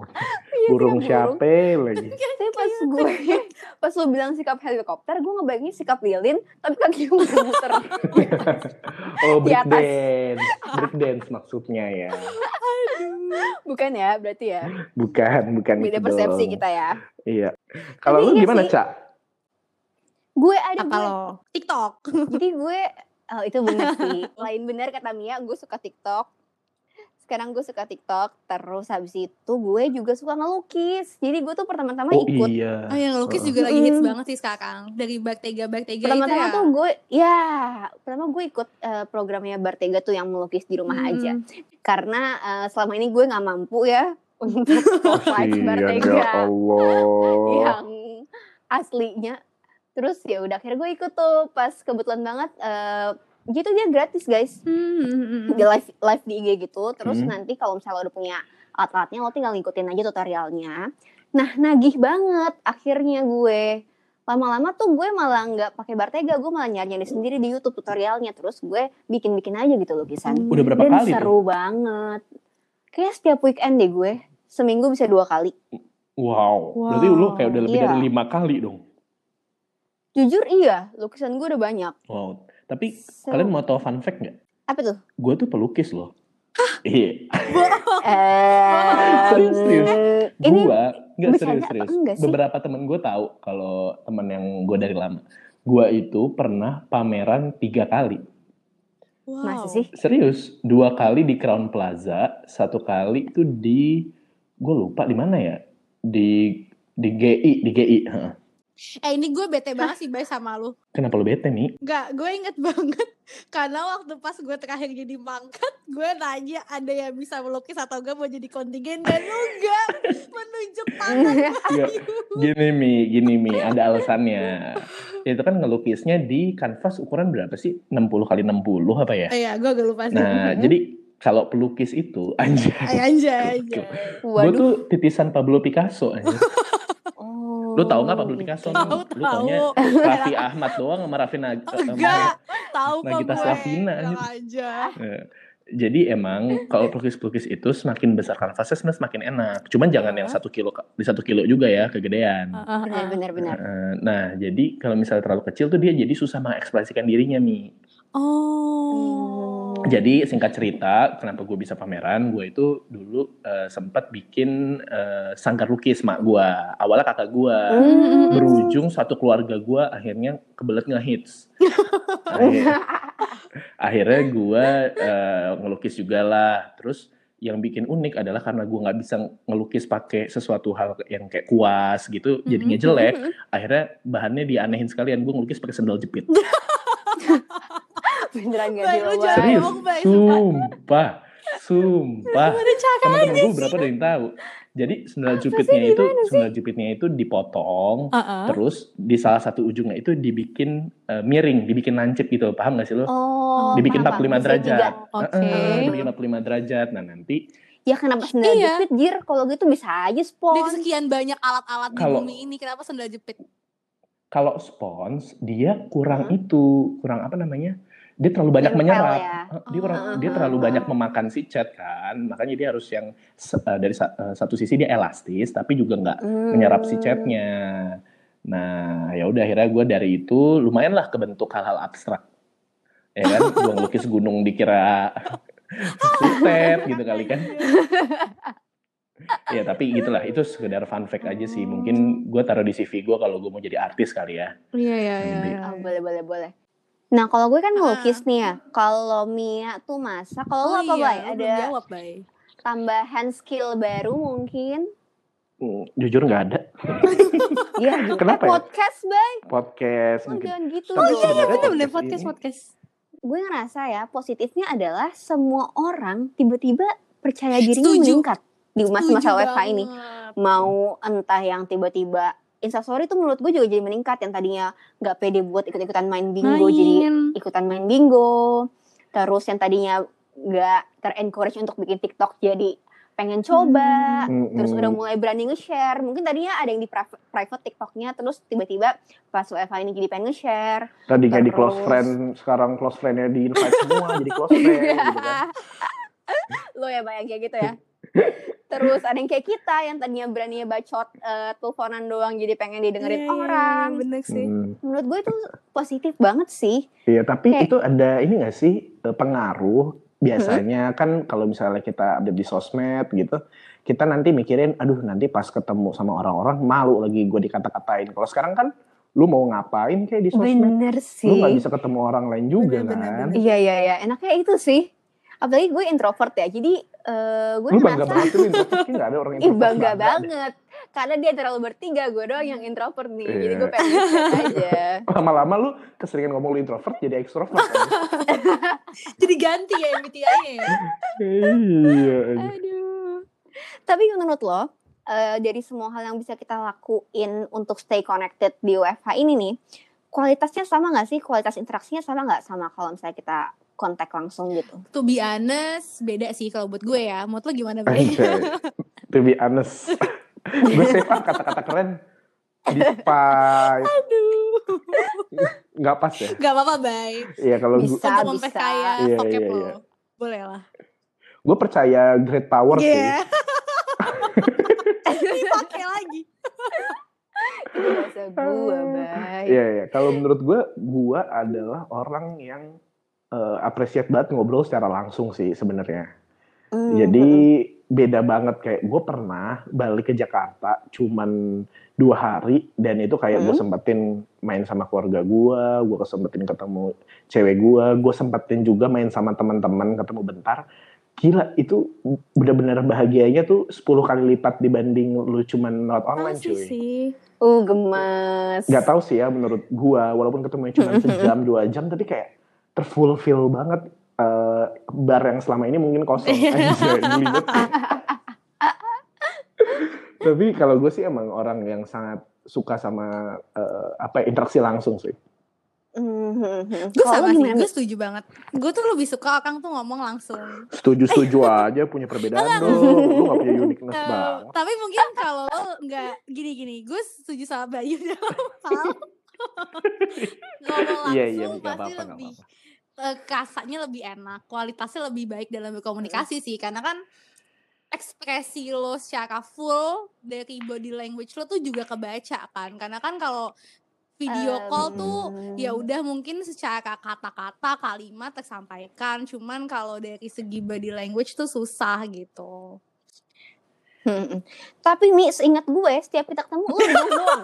Speaker 1: Iya,
Speaker 2: Burung
Speaker 1: sikap Iya,
Speaker 2: siapa lagi?
Speaker 1: Tapi pas gue pas lo bilang sikap helikopter, gue ngebayangin sikap lilin, tapi kaki gue muter.
Speaker 2: Oh,
Speaker 1: Di
Speaker 2: break
Speaker 1: atas.
Speaker 2: dance. Break dance maksudnya ya.
Speaker 1: Bukan ya, berarti ya.
Speaker 2: Bukan, bukan
Speaker 1: Beda
Speaker 2: itu
Speaker 1: persepsi
Speaker 2: dong.
Speaker 1: kita ya.
Speaker 2: Iya. Kalau
Speaker 1: Tapi
Speaker 2: lu
Speaker 1: iya
Speaker 2: gimana,
Speaker 1: sih.
Speaker 2: Cak?
Speaker 1: Gue ada
Speaker 3: Apa
Speaker 1: gue.
Speaker 3: lo? TikTok.
Speaker 1: Jadi gue oh, itu bener sih. Lain bener kata Mia, gue suka TikTok. Sekarang gue suka TikTok, terus habis itu gue juga suka ngelukis. Jadi gue tuh pertama-tama
Speaker 2: Oh
Speaker 1: ikut
Speaker 2: iya.
Speaker 3: Oh, yang lukis juga lagi hits
Speaker 1: Mm.
Speaker 3: banget sih sekarang. Dari baktega-baktega itu
Speaker 1: pertama-tama
Speaker 3: ya.
Speaker 1: tuh gue ya pertama gue ikut eh, programnya Bartega tuh yang melukis di rumah aja
Speaker 3: Mm.
Speaker 1: karena eh, selama ini gue nggak mampu ya untuk spotlight
Speaker 2: Kasihan Oh, ya
Speaker 1: Bartega
Speaker 2: Allah.
Speaker 1: yang aslinya terus ya udah akhirnya gue ikut tuh pas kebetulan banget eh, gitu dia gratis guys
Speaker 3: Hmm, hmm, hmm, hmm.
Speaker 1: di live live di IG gitu terus
Speaker 2: Hmm.
Speaker 1: nanti kalau misalnya lo udah punya alat-alatnya lo tinggal ngikutin aja tutorialnya nah nagih banget akhirnya gue lama-lama tuh gue malah nggak pakai Bartega gue malah nyari-nyari sendiri di YouTube tutorialnya terus gue bikin-bikin aja gitu lukisan
Speaker 2: Udah Hmm, berapa
Speaker 1: dan
Speaker 2: kali tuh?
Speaker 1: seru banget kayak setiap weekend deh gue seminggu bisa dua kali
Speaker 2: Wow. Berarti lu kayak udah lebih
Speaker 1: Iya.
Speaker 2: dari lima kali dong.
Speaker 1: jujur iya lukisan gue udah banyak
Speaker 2: Wow. Tapi
Speaker 1: Seru.
Speaker 2: kalian mau tahu fun fact nggak?
Speaker 1: apa tuh
Speaker 2: Gue tuh pelukis loh. Iya.
Speaker 1: Eh,
Speaker 2: Serius, serius.
Speaker 1: ini
Speaker 2: gua nggak
Speaker 1: bercanda
Speaker 2: serius
Speaker 1: apa
Speaker 2: serius
Speaker 1: enggak sih?
Speaker 2: beberapa temen gue tahu kalau temen yang gue dari lama gue itu pernah pameran tiga kali
Speaker 3: Wow.
Speaker 1: masih sih
Speaker 2: serius dua kali di Crown Plaza satu kali itu di gue lupa di mana ya di di GI di GI heeh.
Speaker 3: Eh ini gue bete banget sih Bay sama lu.
Speaker 2: kenapa lu bete mi
Speaker 3: Enggak, gue inget banget karena waktu pas gue terakhir jadi pangkat, gue nanya ada yang bisa melukis atau enggak mau jadi kontingen dan lu enggak menunjuk tangan.
Speaker 2: Iya.
Speaker 3: Bayu.
Speaker 2: gini mi gini mi ada alasannya itu kan ngelukisnya di kanvas ukuran berapa sih 60 kali 60 apa ya
Speaker 3: Eh, Iya, gue agak lupa sih.
Speaker 2: nah
Speaker 1: Mhm.
Speaker 2: jadi kalau pelukis itu anjir
Speaker 3: Ay, anjay, anjay.
Speaker 2: gue
Speaker 1: waduh
Speaker 2: tuh titisan Pablo Picasso anjir.
Speaker 1: oh
Speaker 4: Lu tahu nggak Pablo Picasso?
Speaker 3: Tahu,
Speaker 4: Lu taunya
Speaker 3: tahu.
Speaker 4: Raffi Ahmad doang sama ya. Raffi Nag-
Speaker 1: Oh,
Speaker 3: Enggak, tahu kok
Speaker 4: Nagita
Speaker 3: gue.
Speaker 4: Slavina,
Speaker 3: Bilang
Speaker 4: gitu.
Speaker 3: aja.
Speaker 4: Eh, jadi emang kalau pelukis-pelukis itu semakin besar kanvasnya sebenarnya semakin enak. Cuman jangan yang
Speaker 1: Iya.
Speaker 4: satu kilo di satu kilo juga ya kegedean.
Speaker 3: Heeh,
Speaker 1: benar
Speaker 3: heeh.
Speaker 1: benar Oh, benar
Speaker 4: Eh, Nah, jadi kalau misalnya terlalu kecil tuh dia jadi susah mengekspresikan dirinya Mi.
Speaker 3: Oh.
Speaker 4: Jadi singkat cerita, kenapa gue bisa pameran? Gue itu dulu eh, sempat bikin eh, sangkar lukis mak gue. Awalnya kakak gue.
Speaker 1: Hmm.
Speaker 4: Berujung satu keluarga gue akhirnya kebelet ngehits. Akhir- akhirnya gue eh, ngelukis juga lah. Terus yang bikin unik adalah karena gue nggak bisa ngelukis pakai sesuatu hal yang kayak kuas gitu,
Speaker 1: Hmm.
Speaker 4: jadinya
Speaker 3: Mhm.
Speaker 4: jelek. Akhirnya bahannya dianehin sekalian. Gue ngelukis pakai sendal jepit.
Speaker 1: beneran gak
Speaker 3: Baik, lu jangan
Speaker 4: Serius?
Speaker 3: bohong, Bay.
Speaker 4: Sumpah, sumpah.
Speaker 3: Ada cakap
Speaker 4: Sama temen gue berapa ada yang tahu. Jadi sendal jepitnya itu, sendal jepitnya itu dipotong, terus di salah satu ujungnya itu dibikin eh, miring, dibikin nancip gitu. Paham gak sih lo?
Speaker 1: oh
Speaker 4: Dibikin
Speaker 1: paham,
Speaker 4: 45
Speaker 1: paham. Bisa
Speaker 4: derajat.
Speaker 1: tiga.
Speaker 3: Oke.
Speaker 4: Eh, dibikin 45 derajat. Nah nanti
Speaker 1: ya kenapa sendal
Speaker 3: Iya.
Speaker 1: jepit jir kalau gitu bisa aja
Speaker 3: Dari
Speaker 1: spons
Speaker 3: sekian banyak alat-alat di
Speaker 4: Kalau-
Speaker 3: bumi ini kenapa sendal jepit?
Speaker 4: kalau spons dia
Speaker 1: Hah?
Speaker 4: kurang itu, kurang apa namanya? Dia terlalu banyak
Speaker 1: Nempel
Speaker 4: menyerap.
Speaker 1: ya.
Speaker 4: Eh, Dia, kurang-
Speaker 1: Oh.
Speaker 4: dia terlalu banyak memakan si cat kan, makanya dia harus yang se- eh, dari sa- eh, satu sisi dia elastis, tapi juga nggak
Speaker 1: Hmm.
Speaker 4: menyerap si catnya. Nah, ya udah akhirnya gue dari itu lumayan lah kebentuk hal-hal abstrak. Ya kan, gue ngelukis gunung dikira sutet gitu kali kan. Ya tapi gitulah, itu sekedar fun fact aja sih. Mungkin gue taruh di CV gue kalau gue mau jadi artis kali ya.
Speaker 3: Iya, iya,
Speaker 4: iya, iya.
Speaker 1: Oh, boleh boleh boleh nah kalau gue
Speaker 3: Ah.
Speaker 1: kan ngelukis nih ya kalau Mia tuh masak kalau lo
Speaker 3: Oh
Speaker 1: apa Bay?
Speaker 3: lu
Speaker 1: ada
Speaker 3: belum Iya, jawab, Bay.
Speaker 1: tambahan skill baru mungkin
Speaker 2: Hmm, jujur nggak ada
Speaker 1: Iya, gitu. Eh,
Speaker 2: Kenapa ya?
Speaker 1: podcast Bay
Speaker 2: podcast
Speaker 1: lo
Speaker 2: mungkin
Speaker 1: jangan gitu
Speaker 2: Oh, iya,
Speaker 1: dong.
Speaker 2: iya, bener,
Speaker 3: bener
Speaker 2: podcast podcast, ini.
Speaker 3: podcast.
Speaker 1: gue ngerasa ya positifnya adalah semua orang tiba-tiba percaya dirinya
Speaker 3: Setuju.
Speaker 1: meningkat di masa-masa
Speaker 3: Setuju
Speaker 1: WFH ini
Speaker 3: banget.
Speaker 1: mau entah yang tiba-tiba instastory itu menurut gue juga jadi meningkat yang tadinya nggak pede buat ikut-ikutan main bingo jadi
Speaker 3: Main.
Speaker 1: ikutan main bingo terus yang tadinya nggak terencourage untuk bikin TikTok jadi pengen coba
Speaker 2: Mm-mm.
Speaker 1: terus udah mulai berani nge-share mungkin tadinya ada yang di private, private TikToknya terus tiba-tiba pas WFH ini jadi pengen nge-share
Speaker 2: tadinya di close
Speaker 1: terus.
Speaker 2: friend sekarang close friendnya di invite semua jadi close friend
Speaker 1: Iya.
Speaker 2: gitu kan
Speaker 1: lo ya bayang kayak gitu ya terus ada yang kayak kita yang tadinya berani bacot eh, teleponan doang jadi pengen didengerin
Speaker 3: Iya, iya, iya,
Speaker 1: orang
Speaker 3: Bener sih.
Speaker 2: Hmm.
Speaker 1: menurut gue itu positif banget sih
Speaker 2: Iya, tapi
Speaker 1: Kayak-
Speaker 2: itu ada ini gak sih eh, pengaruh biasanya kan kalau misalnya kita update di sosmed gitu, kita nanti mikirin, aduh nanti pas ketemu sama orang-orang malu lagi gue dikata-katain. Kalau sekarang kan lu mau ngapain kayak di sosmed,
Speaker 1: bener
Speaker 2: lu nggak
Speaker 1: sih
Speaker 2: bisa ketemu orang lain juga
Speaker 3: Bener, bener,
Speaker 2: kan.
Speaker 1: iya iya iya enaknya itu sih apalagi gue introvert ya jadi eh, gue
Speaker 2: Lu bangga
Speaker 1: merasa
Speaker 2: banget tuh introvert, nggak ada orang
Speaker 1: ih
Speaker 2: introvert.
Speaker 1: bangga banget karena dia terlalu bertiga gue doang yang introvert nih jadi gue pengen ngechat aja
Speaker 2: Lama-lama lu keseringan ngomong lu introvert jadi ekstrovert. kan?
Speaker 3: Jadi ganti ya MBTI-nya ya.
Speaker 2: iya.
Speaker 1: Aduh. Tapi menurut lo, eh, dari semua hal yang bisa kita lakuin untuk stay connected di WFH ini nih, kualitasnya sama nggak sih? Kualitas interaksinya sama nggak sama kalau misalnya kita kontak langsung gitu?
Speaker 3: To be honest, beda sih kalau buat gue ya. Menurut lo gimana, Bay?
Speaker 2: Anjay. To be honest. gue save ah kata-kata keren. Dipa
Speaker 3: Aduh.
Speaker 2: nggak pas ya
Speaker 3: Gak apa-apa, Bay.
Speaker 2: Iya kalau gue
Speaker 1: Bisa.
Speaker 3: Untuk memperkaya
Speaker 2: Iya,
Speaker 3: vocab
Speaker 2: iya,
Speaker 3: lo.
Speaker 2: iya.
Speaker 3: Boleh lah.
Speaker 2: gue percaya great power sih
Speaker 3: Iya. Dipakai lagi.
Speaker 1: Ini bahasa gua, Bay.
Speaker 2: iya iya kalau menurut gue gue adalah orang yang eh, appreciate banget ngobrol secara langsung sih sebenarnya
Speaker 1: Hmm,
Speaker 2: jadi beda banget kayak gue pernah balik ke Jakarta cuman dua hari dan itu kayak gue
Speaker 1: Hmm.
Speaker 2: sempetin main sama keluarga gue gue kesempetin ketemu cewek gue gue sempetin juga main sama teman-teman ketemu bentar gila itu benar-benar bahagianya tuh 10 kali lipat dibanding lu cuman lewat online
Speaker 3: Masih
Speaker 2: cuy
Speaker 3: sih.
Speaker 1: uh gemes.
Speaker 2: nggak tahu sih ya menurut gua walaupun ketemu cuma sejam dua jam tapi kayak terfulfill banget eh, bar yang selama ini mungkin kosong Anjay, geli banget. tapi kalau gue sih emang orang yang sangat suka sama eh, apa ya, interaksi langsung sih
Speaker 1: Mhm.
Speaker 3: Gue
Speaker 1: Kalau
Speaker 3: sama
Speaker 1: lu
Speaker 3: sih,
Speaker 1: gimana?
Speaker 3: gue setuju banget. Gue tuh lebih suka Akang tuh ngomong langsung.
Speaker 2: Setuju-setuju aja punya perbedaan dong. Lu gak punya uniqueness
Speaker 3: Eh,
Speaker 2: banget.
Speaker 3: tapi mungkin kalau lo nggak gini-gini, gue setuju sama Bayu dalam hal ngomong langsung
Speaker 2: Iya, iya, nggak
Speaker 3: pasti
Speaker 2: apa-apa, nggak
Speaker 3: lebih eh, kasarnya lebih enak, kualitasnya lebih baik dalam berkomunikasi sih, karena kan ekspresi lo secara full dari body language lo tuh juga kebaca kan, karena kan kalau video call tuh ya udah mungkin secara kata-kata kalimat tersampaikan cuman kalau dari segi body language tuh susah gitu
Speaker 1: Mhm. Tapi Mi, seingat gue setiap kita ketemu lu ngomong doang.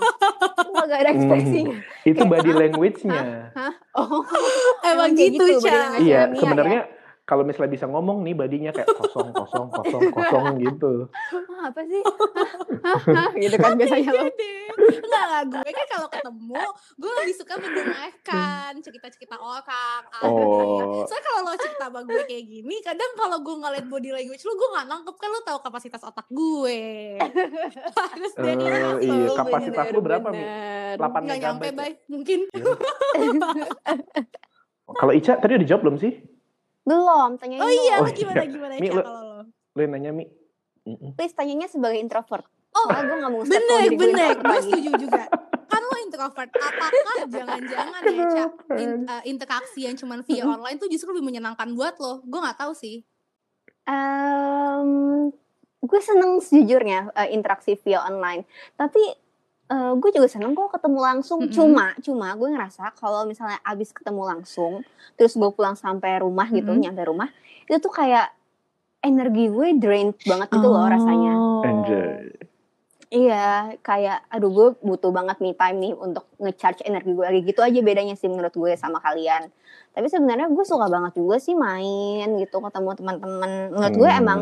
Speaker 1: Lu gak ada ekspresinya.
Speaker 2: Itu body language-nya.
Speaker 3: Hmm.
Speaker 1: Oh,
Speaker 3: emang
Speaker 1: kayak
Speaker 3: gitu, Ca.
Speaker 1: gitu, body language.
Speaker 2: Iya,
Speaker 1: Mia, ya.
Speaker 2: sebenarnya kalau misalnya bisa ngomong nih badinya kayak kosong kosong kosong kosong gitu.
Speaker 1: apa sih? Hah? Hah? gitu kan biasanya
Speaker 3: Iya
Speaker 1: lo.
Speaker 3: deh. Enggak lah gue kan kalau ketemu gue lebih suka mendengarkan cerita-cerita orang ah,
Speaker 2: Oh.
Speaker 3: Soalnya kalau lo cerita sama gue kayak gini, kadang kalau gue ngeliat body language lo, gue gak nangkep kan lo tahu kapasitas otak gue. Harus dari
Speaker 2: Eh,
Speaker 3: hasil
Speaker 2: iya,
Speaker 3: lo
Speaker 2: kapasitas
Speaker 3: bener.
Speaker 2: lu berapa, Mi?
Speaker 1: Bener-bener.
Speaker 2: 8
Speaker 3: Nggak nyampe,
Speaker 2: megabyte. ya?
Speaker 3: Bay. Mungkin.
Speaker 2: Kalau Ica tadi udah dijawab belum sih?
Speaker 1: Belum, tanyain
Speaker 3: Oh iya,
Speaker 2: Oh
Speaker 3: lo gimana
Speaker 2: iya.
Speaker 3: gimana
Speaker 2: Mi,
Speaker 3: Ca,
Speaker 2: lo-
Speaker 3: kalau lo?
Speaker 2: Lu yang nanya Mi. Mm-mm.
Speaker 1: Please tanyanya sebagai introvert.
Speaker 3: Oh,
Speaker 1: Soalnya gue gak mau step kalau
Speaker 3: Bener,
Speaker 1: diri gue
Speaker 3: bener.
Speaker 1: introvert
Speaker 3: Gue
Speaker 1: lagi.
Speaker 3: setuju juga. Kan lo introvert. Apakah jangan-jangan ya, Ca, in- eh, interaksi yang cuman via
Speaker 1: Mm-mm.
Speaker 3: online tuh justru lebih menyenangkan buat lo? Gue nggak tahu sih.
Speaker 1: Em, gue seneng sejujurnya eh, interaksi via online. Tapi eh, gue juga seneng kok ketemu langsung.
Speaker 3: Mm-mm.
Speaker 1: Cuma, cuma gue ngerasa kalau misalnya abis ketemu langsung, terus gue pulang sampai rumah gitu,
Speaker 3: Mm-mm.
Speaker 1: nyampe rumah, itu tuh kayak energi gue drained banget gitu
Speaker 3: Oh.
Speaker 1: loh rasanya.
Speaker 2: Oh. Anjay.
Speaker 1: Iya, kayak aduh gue butuh banget me time nih untuk ngecharge energi gue lagi gitu aja bedanya sih menurut gue sama kalian. Tapi sebenarnya gue suka banget juga sih main gitu ketemu teman-teman. Menurut gue
Speaker 2: Hmm,
Speaker 1: emang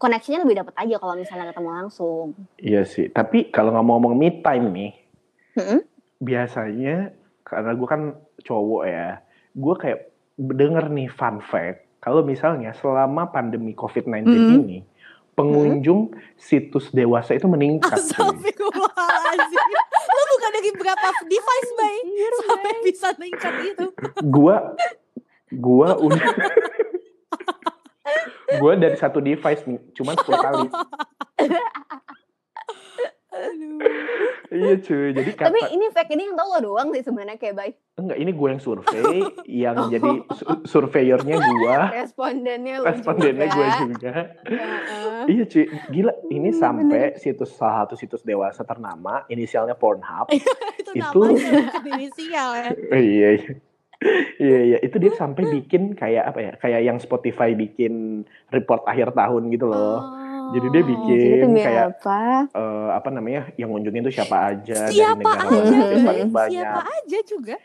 Speaker 1: connection-nya lebih dapat aja kalau misalnya ketemu langsung.
Speaker 2: Iya sih. Tapi kalau ngomong-ngomong me time nih,
Speaker 1: Mm-mm.
Speaker 2: biasanya karena gue kan cowok ya, gue kayak denger nih fun fact kalau misalnya selama pandemi COVID-19
Speaker 3: Mm.
Speaker 1: Hmm.
Speaker 2: ini pengunjung situs dewasa itu meningkat.
Speaker 1: Oh,
Speaker 2: cuy.
Speaker 3: Astagfirullahaladzim. lo bukan dari berapa device, Bay?
Speaker 1: Anjir,
Speaker 3: Sampai bisa meningkat itu.
Speaker 2: Gua gua udah gua dari satu device nih, cuman 10 kali.
Speaker 3: Aduh.
Speaker 2: Iya cuy. Jadi kata
Speaker 1: Tapi ini fact ini yang tau lo doang sih sebenarnya kayak baik
Speaker 2: enggak ini gue yang survei, yang jadi su- surveyornya gua,
Speaker 1: respondennya lo
Speaker 2: respondennya
Speaker 1: juga.
Speaker 2: gue juga.
Speaker 1: Heeh.
Speaker 2: Iya cuy, gila ini
Speaker 1: Hmm,
Speaker 2: sampai situs salah satu situs dewasa ternama inisialnya Pornhub.
Speaker 3: Itu,
Speaker 2: Itu-
Speaker 3: namanya bukan inisial ya.
Speaker 2: Eh, iya iya. Iya iya, itu dia sampai bikin kayak apa ya? Kayak yang Spotify bikin report akhir tahun gitu loh. Jadi
Speaker 1: Oh.
Speaker 2: dia bikin
Speaker 1: Jadi itu demi
Speaker 2: kayak-
Speaker 1: gitu, apa?
Speaker 2: Eh, apa namanya? Yang ngunjungin tuh siapa aja
Speaker 3: Siapa
Speaker 2: dari ya, negara
Speaker 3: aja,
Speaker 2: mana sih
Speaker 1: Bay.
Speaker 2: paling banyak.
Speaker 3: Siapa aja juga.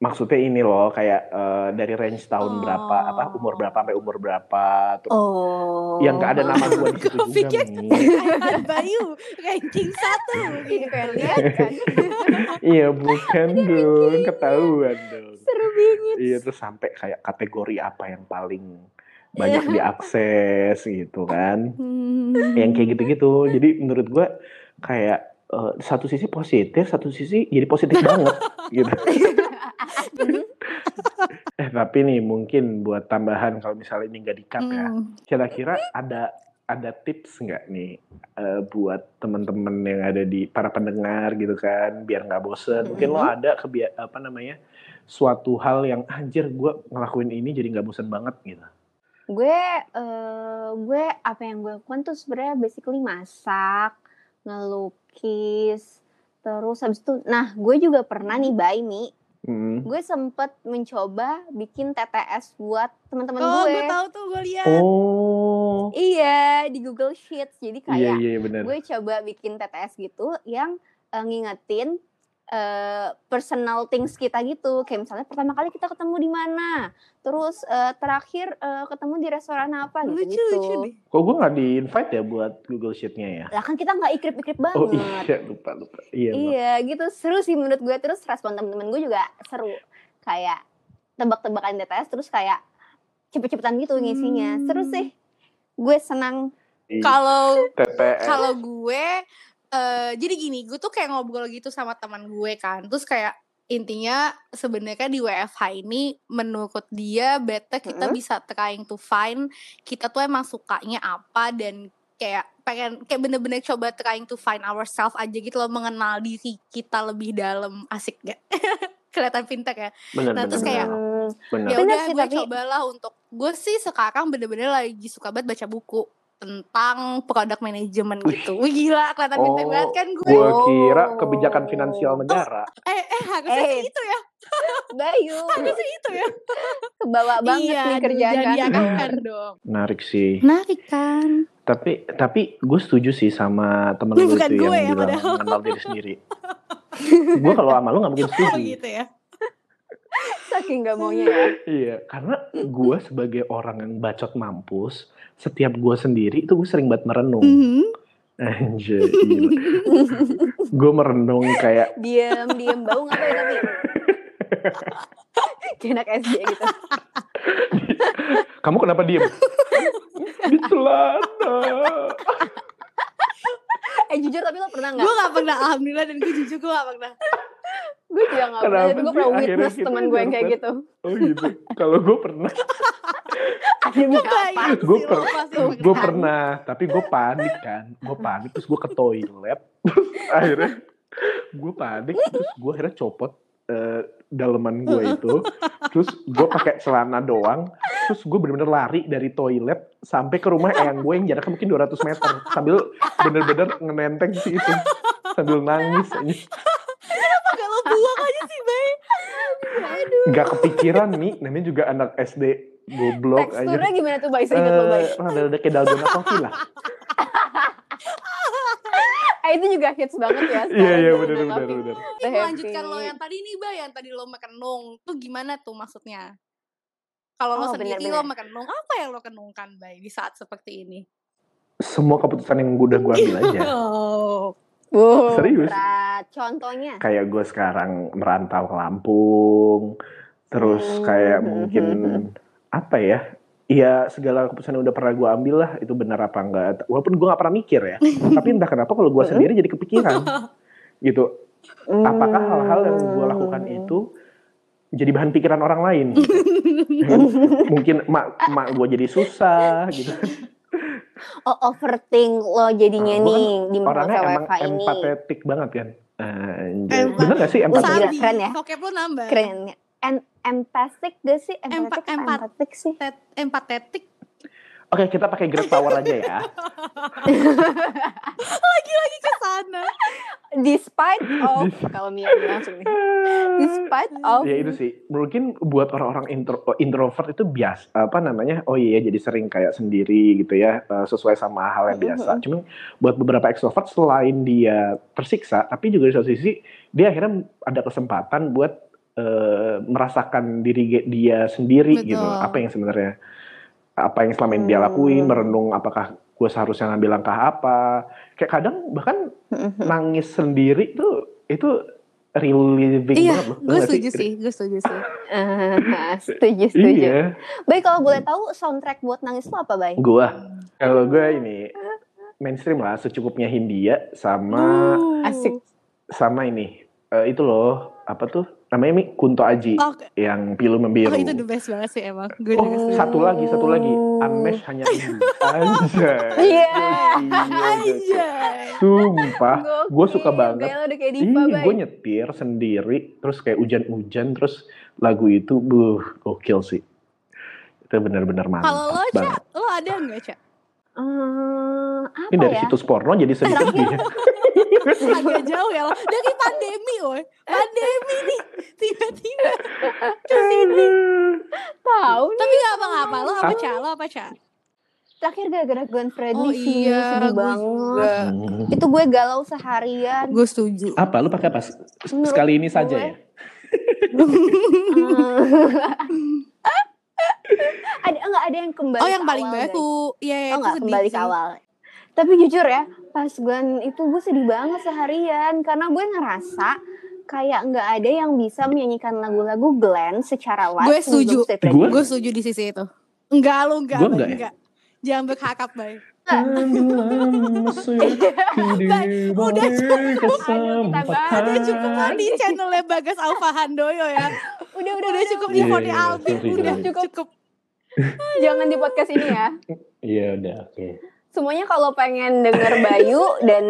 Speaker 2: Maksudnya ini loh, kayak eh, dari range tahun berapa,
Speaker 3: Oh.
Speaker 2: apa umur berapa sampai umur berapa. Terus
Speaker 1: Oh.
Speaker 2: yang nggak ada nama gua di situ
Speaker 3: Gue
Speaker 2: Gitu juga
Speaker 3: pikir Iya,
Speaker 2: nih.
Speaker 3: Ahmad Bayu ranking satu. gitu.
Speaker 1: Ini kayak lihat kan.
Speaker 2: iya bukan dong, ketahuan dong.
Speaker 1: Seru bingit.
Speaker 2: Iya terus sampai kayak kategori apa yang paling banyak diakses gitu kan.
Speaker 3: Hmm,
Speaker 2: Yang kayak gitu-gitu. Jadi menurut gua kayak eh, satu sisi positif, satu sisi jadi positif banget gitu. eh tapi nih mungkin buat tambahan kalau misalnya ini nggak di-cut ya.
Speaker 3: Hmm.
Speaker 2: Kira-kira ada ada tips nggak nih eh, buat teman-teman yang ada di para pendengar gitu kan biar nggak bosen
Speaker 3: Hmm.
Speaker 2: mungkin lo
Speaker 1: Mhm.
Speaker 2: ada kebia apa namanya suatu hal yang anjir gue ngelakuin ini jadi nggak bosen banget gitu
Speaker 1: gue eh, gue apa yang gue lakukan tuh sebenarnya basically masak ngelukis terus habis itu nah gue juga pernah nih by me
Speaker 2: Hmm.
Speaker 1: gue sempet mencoba bikin TTS buat teman-teman
Speaker 3: Oh,
Speaker 1: gue
Speaker 3: gue tahu tuh gue lihat.
Speaker 2: oh
Speaker 1: iya di Google Sheets jadi kayak
Speaker 2: iya iya benar
Speaker 1: gue coba bikin TTS gitu yang eh, ngingetin eh, personal things kita gitu kayak misalnya pertama kali kita ketemu di mana terus eh, terakhir eh, ketemu di restoran
Speaker 2: Oh,
Speaker 1: apa gitu
Speaker 3: lucu
Speaker 1: gitu
Speaker 3: lucu deh.
Speaker 2: kok gue nggak di invite ya buat Google Sheet-nya ya
Speaker 1: lah kan kita nggak ikrip-ikrip banget
Speaker 2: oh iya lupa lupa iya Bang.
Speaker 1: Iya, gitu seru sih menurut gue terus respon temen-temen gue juga seru kayak tebak-tebakan TTS terus kayak cepet-cepetan gitu ngisinya
Speaker 3: Hmm.
Speaker 1: seru sih gue senang
Speaker 2: Iya.
Speaker 3: Kalau
Speaker 2: TTS
Speaker 3: kalau eh, gue eh jadi gini, gue tuh kayak ngobrol gitu sama teman gue kan. Terus kayak intinya sebenarnya di WFH ini menurut dia better kita
Speaker 1: Mm-mm.
Speaker 3: bisa trying to find kita tuh emang sukanya apa dan kayak pengen kayak bener-bener coba trying to find ourselves aja gitu loh mengenal diri kita lebih dalam asik gak kelihatan pintar ya
Speaker 2: benar
Speaker 3: Nah,
Speaker 2: benar
Speaker 3: terus kayak-
Speaker 1: Hmm,
Speaker 2: benar
Speaker 3: ya
Speaker 1: Bener
Speaker 3: udah
Speaker 1: sih,
Speaker 3: gue
Speaker 1: tapi-
Speaker 3: cobalah untuk gue sih sekarang bener-bener lagi suka banget baca buku tentang product management
Speaker 2: Wih.
Speaker 3: gitu Wih gila kelihatan pintar
Speaker 2: Oh,
Speaker 3: banget kan gue
Speaker 2: gue kira kebijakan finansial negara
Speaker 3: eh eh harusnya sih
Speaker 1: Eh.
Speaker 3: itu ya
Speaker 1: Bayu
Speaker 3: harusnya itu ya
Speaker 1: kebawa banget
Speaker 3: iya,
Speaker 1: nih
Speaker 3: di-
Speaker 1: kerjaan kan.
Speaker 3: jadi
Speaker 1: kantor.
Speaker 3: akan dong
Speaker 2: menarik sih
Speaker 3: menarik kan
Speaker 2: tapi tapi gue setuju sih sama temen
Speaker 3: Ini
Speaker 2: lu
Speaker 3: bukan
Speaker 2: itu
Speaker 3: gue ya,
Speaker 2: yang bilang
Speaker 3: padahal.
Speaker 2: mengenal diri sendiri gue kalau sama lu nggak mungkin
Speaker 3: oh
Speaker 2: setuju
Speaker 3: gitu ya
Speaker 1: saking gak maunya ya
Speaker 2: Iya, karena gue sebagai orang yang bacot mampus, setiap gue sendiri itu gue sering banget merenung.
Speaker 3: Mhm.
Speaker 2: Anjir, gue merenung kayak
Speaker 1: diem diem bau ngapa ya tapi Kayak anak SD gitu
Speaker 2: kamu kenapa diem? Di celana.
Speaker 1: eh jujur tapi lo pernah nggak
Speaker 3: gue gak pernah alhamdulillah dan gue jujur gue gak pernah
Speaker 1: gue juga nggak pernah
Speaker 2: Kenapa
Speaker 1: tapi gue
Speaker 2: sih
Speaker 1: pernah
Speaker 2: akhirnya
Speaker 1: witness
Speaker 2: kita
Speaker 1: teman gue yang kayak
Speaker 2: dapat-
Speaker 1: gitu
Speaker 2: Oh gitu. Kalau gue pernah, Iya,
Speaker 1: demi apa
Speaker 3: Kebayang
Speaker 2: Gue
Speaker 3: sih lo
Speaker 2: per-
Speaker 3: pasti
Speaker 2: gue pernah. Tapi gue panik kan. Gue panik terus gue ke toilet. Terus akhirnya gue panik terus gue akhirnya copot eh, daleman gue itu. Terus gue pakai celana doang. Terus gue bener-bener lari dari toilet sampai ke rumah eyang gue yang jaraknya mungkin 200 meter. Sambil bener-bener ngenenteng sih itu. Sambil nangis. anjing.
Speaker 3: Kenapa gak lo buang aja sih Bay aduh
Speaker 2: Gak kepikiran nih. Namanya juga anak SD. Goblok aja. Eh,
Speaker 1: teksturnya gimana tuh Bay seingat lo Bay
Speaker 2: ada ada kayak dalgona coffee lah.
Speaker 1: eh, itu juga hits banget ya
Speaker 2: Iya iya
Speaker 1: sekarang.
Speaker 2: benar
Speaker 1: Tapi
Speaker 2: benar benar.
Speaker 3: Tapi
Speaker 1: happy.
Speaker 3: melanjutkan lo yang tadi nih Bay yang tadi lo mekenung tuh gimana tuh maksudnya kalau lo
Speaker 1: Oh,
Speaker 3: sendiri
Speaker 1: benar-benar.
Speaker 3: lo mekenung apa yang lo kenungkan Bay di saat seperti ini
Speaker 2: Semua keputusan yang udah gue ambil aja.
Speaker 3: oh
Speaker 1: Wow,
Speaker 2: Serius.
Speaker 1: berat. contohnya
Speaker 2: Kayak gue sekarang merantau ke Lampung, terus kayak
Speaker 1: Hmm.
Speaker 2: mungkin apa ya? Iya segala keputusan yang udah pernah gue ambil lah itu benar apa enggak. Walaupun gue gak pernah mikir ya, tapi entah kenapa kalau gue sendiri jadi kepikiran gitu. Apakah
Speaker 1: Hmm.
Speaker 2: hal-hal yang gue lakukan itu jadi bahan pikiran orang lain? gitu. mungkin mak mak gue jadi susah gitu.
Speaker 1: oh overthink lo jadinya
Speaker 2: Ah, gua kan
Speaker 1: nih di masa
Speaker 2: orangnya emang
Speaker 1: WFH ini
Speaker 2: empatetik banget kan. Anjay.
Speaker 3: Empat-
Speaker 2: Bener gak sih
Speaker 1: Empat-
Speaker 2: empatetik?
Speaker 1: Gila, keren ya.
Speaker 3: vocab lo nambah
Speaker 1: keren ya Em- empathic gak sih
Speaker 3: Empa-
Speaker 1: empathetic apa
Speaker 3: empat-
Speaker 1: empathetic sih
Speaker 3: Tet- empatetik
Speaker 2: Oke kita pakai great power aja ya.
Speaker 3: lagi-lagi ke sana
Speaker 1: despite of kalau Mia langsung nih despite of
Speaker 2: ya itu sih. Mungkin buat orang-orang intro- oh, introvert itu biasa apa namanya? Oh iya jadi sering kayak sendiri gitu ya eh, sesuai sama hal yang biasa. Cuman buat beberapa extrovert selain dia tersiksa tapi juga di satu sisi dia akhirnya ada kesempatan buat eh, merasakan diri dia sendiri gitu.
Speaker 3: Betul.
Speaker 2: Apa yang sebenarnya apa yang selama ini dia
Speaker 1: Hmm.
Speaker 2: lakuin, merenung apakah gue seharusnya ngambil langkah apa. Kayak kadang bahkan nangis sendiri tuh itu reliving
Speaker 3: Iya,
Speaker 2: banget loh.
Speaker 3: gue
Speaker 2: Nggak
Speaker 3: setuju sih gue setuju sih
Speaker 1: Ah, setuju setuju
Speaker 2: Iya,
Speaker 1: baik kalau boleh tahu soundtrack buat nangis lo apa baik
Speaker 2: gue kalau gue ini mainstream lah, secukupnya Hindia sama
Speaker 3: Uh.
Speaker 1: Asik.
Speaker 2: sama ini eh, itu loh apa tuh namanya Mi Kunto Aji
Speaker 3: Oh,
Speaker 2: yang pilu
Speaker 3: oh,
Speaker 2: membiru.
Speaker 3: itu the best banget sih emang. Gue
Speaker 2: Oh,
Speaker 3: juga setuju.
Speaker 2: satu lagi, satu lagi. Unmesh hanya ini. Anjay.
Speaker 1: Iya.
Speaker 2: Iya.
Speaker 3: Anjay.
Speaker 2: Sumpah. Gue Ah, suka
Speaker 1: Gokil,
Speaker 2: banget.
Speaker 1: gaya lo udah kayak diva
Speaker 2: Iya, gue
Speaker 1: baik
Speaker 2: nyetir sendiri, terus kayak hujan-hujan, terus lagu itu, buh, gokil sih. Itu benar-benar mantap
Speaker 3: Kalau lo, Ca,
Speaker 2: banget.
Speaker 3: lo ada nggak, Ca?
Speaker 1: Eh,
Speaker 2: Ini
Speaker 1: apa
Speaker 2: dari
Speaker 1: ya
Speaker 2: situs porno jadi sedih-sedih.
Speaker 3: Iya, Agak jauh ya lo. Dari pandemi, woy. Pandemi nih. Tiba-tiba.
Speaker 1: tahu nih
Speaker 3: Tapi nggak apa-apa. Lo apa, Ca? Lo apa, Ca?
Speaker 1: terakhir gara-gara Glenn Fredly
Speaker 3: Oh,
Speaker 1: sih sedih
Speaker 3: gue
Speaker 1: banget
Speaker 3: juga.
Speaker 2: Hmm.
Speaker 1: itu gue galau seharian
Speaker 3: Gue setuju.
Speaker 4: Apa lu pakai apa?
Speaker 1: Menurut
Speaker 4: Sekali ini saja
Speaker 1: gue-
Speaker 4: ya.
Speaker 1: ada enggak ada yang kembali
Speaker 3: Oh,
Speaker 1: ke
Speaker 3: yang paling
Speaker 1: awal, guys.
Speaker 3: baru. Iya, ya,
Speaker 1: oh
Speaker 3: itu
Speaker 1: enggak
Speaker 3: sedih
Speaker 1: kembali ke
Speaker 3: sih.
Speaker 1: awal tapi jujur ya pas Glenn itu gue sedih banget seharian karena gue ngerasa kayak nggak ada yang bisa menyanyikan lagu-lagu Glenn secara live
Speaker 3: Gue
Speaker 1: sebelum
Speaker 3: setuju.
Speaker 1: Stay Pretty.
Speaker 2: Gue?
Speaker 3: Gue setuju di sisi itu. Enggak, lo enggak.
Speaker 4: Gue
Speaker 3: Bay,
Speaker 4: nggak ya?
Speaker 3: enggak. Jangan berhakap, Bay.
Speaker 4: Udah cukup,
Speaker 3: Udah cukup lah di channelnya Bagas Alfa Handoyo ya.
Speaker 1: Udah, udah,
Speaker 3: Udah
Speaker 1: udah.
Speaker 3: cukup di
Speaker 4: Iya,
Speaker 3: Foni
Speaker 4: iya,
Speaker 3: Alvin.
Speaker 4: sorry,
Speaker 3: Udah
Speaker 4: sorry.
Speaker 3: cukup. cukup.
Speaker 1: Jangan di podcast ini ya.
Speaker 4: Iya udah oke.
Speaker 1: Semuanya kalau pengen denger Bayu dan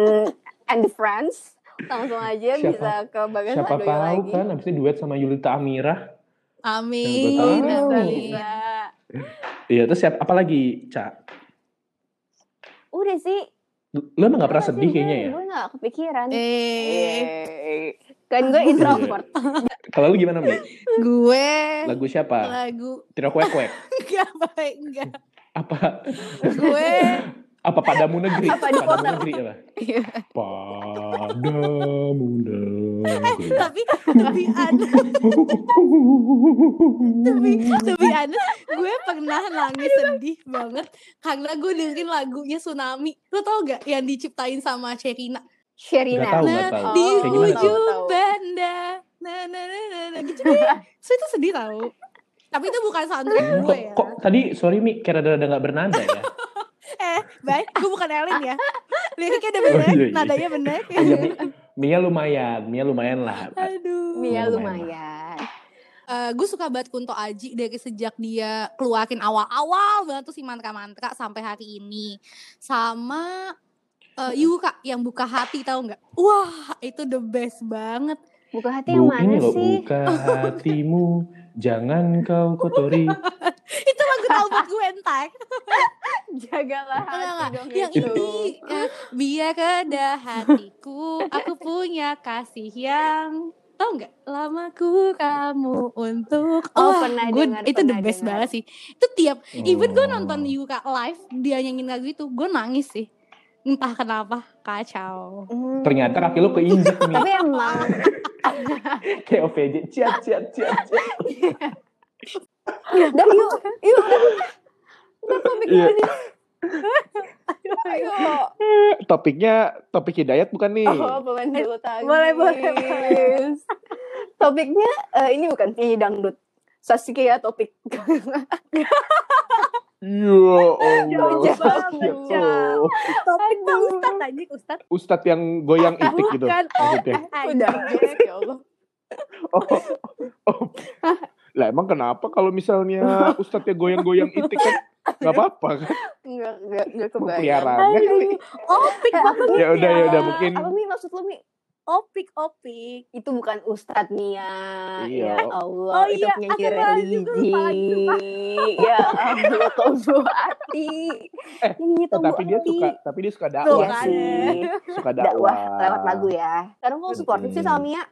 Speaker 1: and the Friends, langsung aja
Speaker 4: Siapa-
Speaker 1: bisa ke Bagas
Speaker 4: Siapa
Speaker 1: Handoyo
Speaker 4: tahu
Speaker 1: lagi.
Speaker 4: kan abis itu duet sama Yulita Amira.
Speaker 3: Amin.
Speaker 4: Siapa tahu.
Speaker 1: Bisa,
Speaker 4: Oh.
Speaker 1: bisa.
Speaker 4: Iya terus siapa apa lagi Cak?
Speaker 5: Udah sih.
Speaker 4: Lu emang gak pernah
Speaker 5: apa sih,
Speaker 4: sedih
Speaker 5: gue-
Speaker 4: kayaknya ya?
Speaker 5: Gue gak kepikiran.
Speaker 1: Iya.
Speaker 3: Eh,
Speaker 5: Eh, Kan
Speaker 4: Iya.
Speaker 5: gue introvert.
Speaker 4: Kalau lu gimana Mi?
Speaker 1: Iya.
Speaker 3: gue
Speaker 4: Lagu siapa?
Speaker 3: lagu
Speaker 4: Tiro kuek kuek.
Speaker 3: enggak baik enggak.
Speaker 4: Apa?
Speaker 3: Gue
Speaker 4: Apa padamu negeri?
Speaker 1: Apa di
Speaker 4: padamu
Speaker 1: kotak?
Speaker 4: negeri apa?
Speaker 1: Iya.
Speaker 4: Padamu negeri.
Speaker 3: tapi tapi ada tapi tapi aneh gue pernah nangis sedih banget karena gue dengerin lagunya tsunami lo tau gak yang diciptain sama Sherina Nah,
Speaker 1: Sherina. Iya,
Speaker 4: Gak tahu gak tahu.
Speaker 3: di
Speaker 4: Kayak gimana tuh?
Speaker 3: ujung
Speaker 1: Tahu, tahu.
Speaker 3: banda na na na na na gitu deh. so itu sedih tau tapi itu bukan soundtrack
Speaker 4: Hmm,
Speaker 3: gue
Speaker 4: Kok,
Speaker 3: ya
Speaker 4: kok tadi sorry Mi kira-kira nggak bernada ya?
Speaker 3: eh baik gue bukan Elin ya liriknya udah bener
Speaker 4: Oh, iya, iya.
Speaker 3: nadanya bener
Speaker 4: Iya, Mi- Mia lumayan, Mia lumayan lah.
Speaker 3: aduh
Speaker 1: Mia
Speaker 4: Lumayan.
Speaker 1: lumayan.
Speaker 3: Eh, gue suka banget Kunto Aji dari sejak dia keluarin awal-awal banget tuh si mantra-mantra sampai hari ini. Sama eh Yu Kak yang buka hati tahu nggak? Wah itu the best banget.
Speaker 5: Buka hati yang
Speaker 4: Bu,
Speaker 5: mana
Speaker 4: ini loh
Speaker 5: sih?
Speaker 4: buka hatimu, jangan kau kotori.
Speaker 3: Itu lagu Talbot gue entar.
Speaker 1: Jagalah
Speaker 3: Enggak,
Speaker 1: hati
Speaker 3: enggak.
Speaker 1: dong
Speaker 3: Yang
Speaker 1: gitu.
Speaker 3: ini eh, biar ada hatiku, aku punya kasih yang tahu nggak? Lamaku kamu untuk
Speaker 1: Oh,
Speaker 3: Wah,
Speaker 1: pernah
Speaker 3: gue-
Speaker 1: dengar,
Speaker 3: itu the
Speaker 1: pernah
Speaker 3: best
Speaker 1: dengar.
Speaker 3: banget sih. Itu tiap Even gue
Speaker 4: Oh.
Speaker 3: nonton Yuka live, dia nyanyiin lagu itu, gue nangis sih. Entah kenapa, kacau.
Speaker 5: Hmm.
Speaker 4: Ternyata kaki lu keinjek Mi.
Speaker 5: Tapi emang
Speaker 4: Kayak OVJ, ciat, ciat, ciat, ciat.
Speaker 5: Dah yuk, yuk.
Speaker 2: Iya.
Speaker 1: Ayo.
Speaker 2: Topiknya topik hidayat bukan nih?
Speaker 1: Oh, pemain bulu tangkis.
Speaker 5: Boleh, boleh,
Speaker 1: Topiknya eh, ini bukan penyanyi dangdut. Saskia topik.
Speaker 2: Ya Allah.
Speaker 1: Jauh banget, Cak.
Speaker 2: Ya Allah.
Speaker 3: Topik Pak Ustadz aja, Ustadz.
Speaker 2: Ustadz yang goyang
Speaker 1: Oh,
Speaker 2: itik gitu.
Speaker 3: Bukan,
Speaker 2: maksudnya.
Speaker 1: Udah, Jack, ya Allah.
Speaker 2: Oh, oh. Lah emang kenapa kalau misalnya Ustadz yang goyang-goyang itik kan nggak apa-apa kan?
Speaker 1: Enggak, enggak, enggak kebayang. Eh,
Speaker 2: Peliharaannya kali.
Speaker 3: Opik banget.
Speaker 2: Ya udah ya udah mungkin
Speaker 5: Apa Mi maksud lu Mi?
Speaker 3: Opik, opik.
Speaker 1: Itu bukan Ustadz Nia.
Speaker 2: Iya.
Speaker 1: Ya Allah,
Speaker 3: Oh
Speaker 1: itu
Speaker 3: iya,
Speaker 1: penyanyi
Speaker 3: aku baru juga
Speaker 1: religi.
Speaker 3: lupa, sumpah.
Speaker 1: ya Allah, Iya, tombo hati.
Speaker 2: Eh,
Speaker 1: Nyanyi
Speaker 2: eh,
Speaker 1: tombo
Speaker 2: tapi dia
Speaker 1: hati.
Speaker 2: suka tapi dia suka
Speaker 1: Iya
Speaker 2: dakwah
Speaker 3: Tuh kan.
Speaker 1: sih.
Speaker 2: sih. Suka
Speaker 1: Dakwah
Speaker 2: dakwah.
Speaker 1: lewat lagu ya. Sekarang kalau supportif sih sama Mia.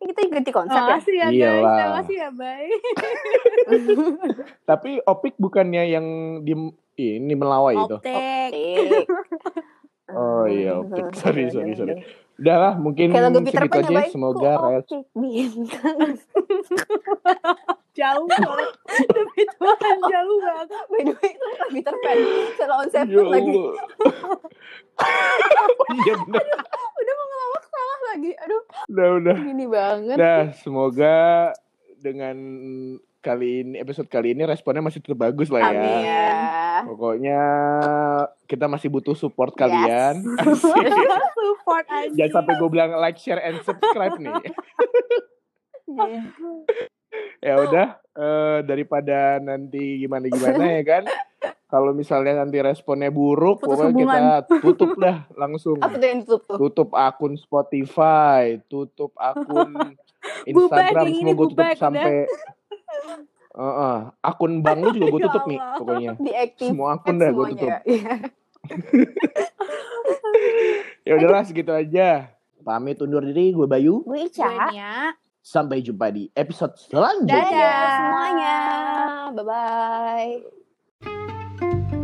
Speaker 1: Ini kita ikuti konsep ya.
Speaker 3: Makasih ya guys,
Speaker 2: Ah, Iyalah.
Speaker 3: makasih ya bye.
Speaker 2: Tapi opik bukannya yang di ini melawai itu.
Speaker 3: Optik.
Speaker 1: Tik.
Speaker 2: Oh, iya, oke. Sorry, sorry, sorry. Udah lah, mungkin
Speaker 1: iya. Kayak lagu Peter
Speaker 2: segitu
Speaker 1: Pan ya,
Speaker 2: aja.
Speaker 1: Bay?
Speaker 2: Semoga
Speaker 1: Ku
Speaker 2: Rel
Speaker 1: optik bintang.
Speaker 3: Jauh banget. Demi Tuhan, jauh banget.
Speaker 1: By the way, itu bukan Peter Pan. Salah on
Speaker 2: Ya
Speaker 1: Seven lagi.
Speaker 2: Allah. Oh, Iya benar.
Speaker 1: Udah mau ngelawak salah lagi. Aduh,
Speaker 2: Udah, udah.
Speaker 1: gini banget.
Speaker 2: Nah, semoga dengan kali ini episode kali ini responnya masih tetap bagus lah ya.
Speaker 1: Amin. Ya.
Speaker 2: Pokoknya kita masih butuh support kalian.
Speaker 3: Support aja.
Speaker 2: Jangan sampai gue bilang like, share, and subscribe nih. ya udah eh, daripada nanti gimana gimana ya kan kalau misalnya nanti responnya buruk
Speaker 3: Putus
Speaker 2: pokoknya kita tutup dah langsung
Speaker 1: Apa tuh yang tutup
Speaker 3: gitu.
Speaker 1: tuh?
Speaker 2: tutup akun Spotify tutup akun Instagram
Speaker 3: yang ini
Speaker 2: semua gue tutup
Speaker 3: bubar, udah.
Speaker 2: sampai Heeh, akun bank lu juga gue
Speaker 3: Ya
Speaker 2: tutup nih
Speaker 3: Allah.
Speaker 2: pokoknya
Speaker 1: Diaktif.
Speaker 2: semua akun dah gue tutup
Speaker 1: Iya.
Speaker 2: ya udahlah segitu aja pamit undur diri gue Bayu
Speaker 5: Gue
Speaker 3: Gue
Speaker 5: Ica.
Speaker 3: Nia.
Speaker 2: sampai jumpa di episode selanjutnya
Speaker 1: Dadah semuanya. Bye-bye.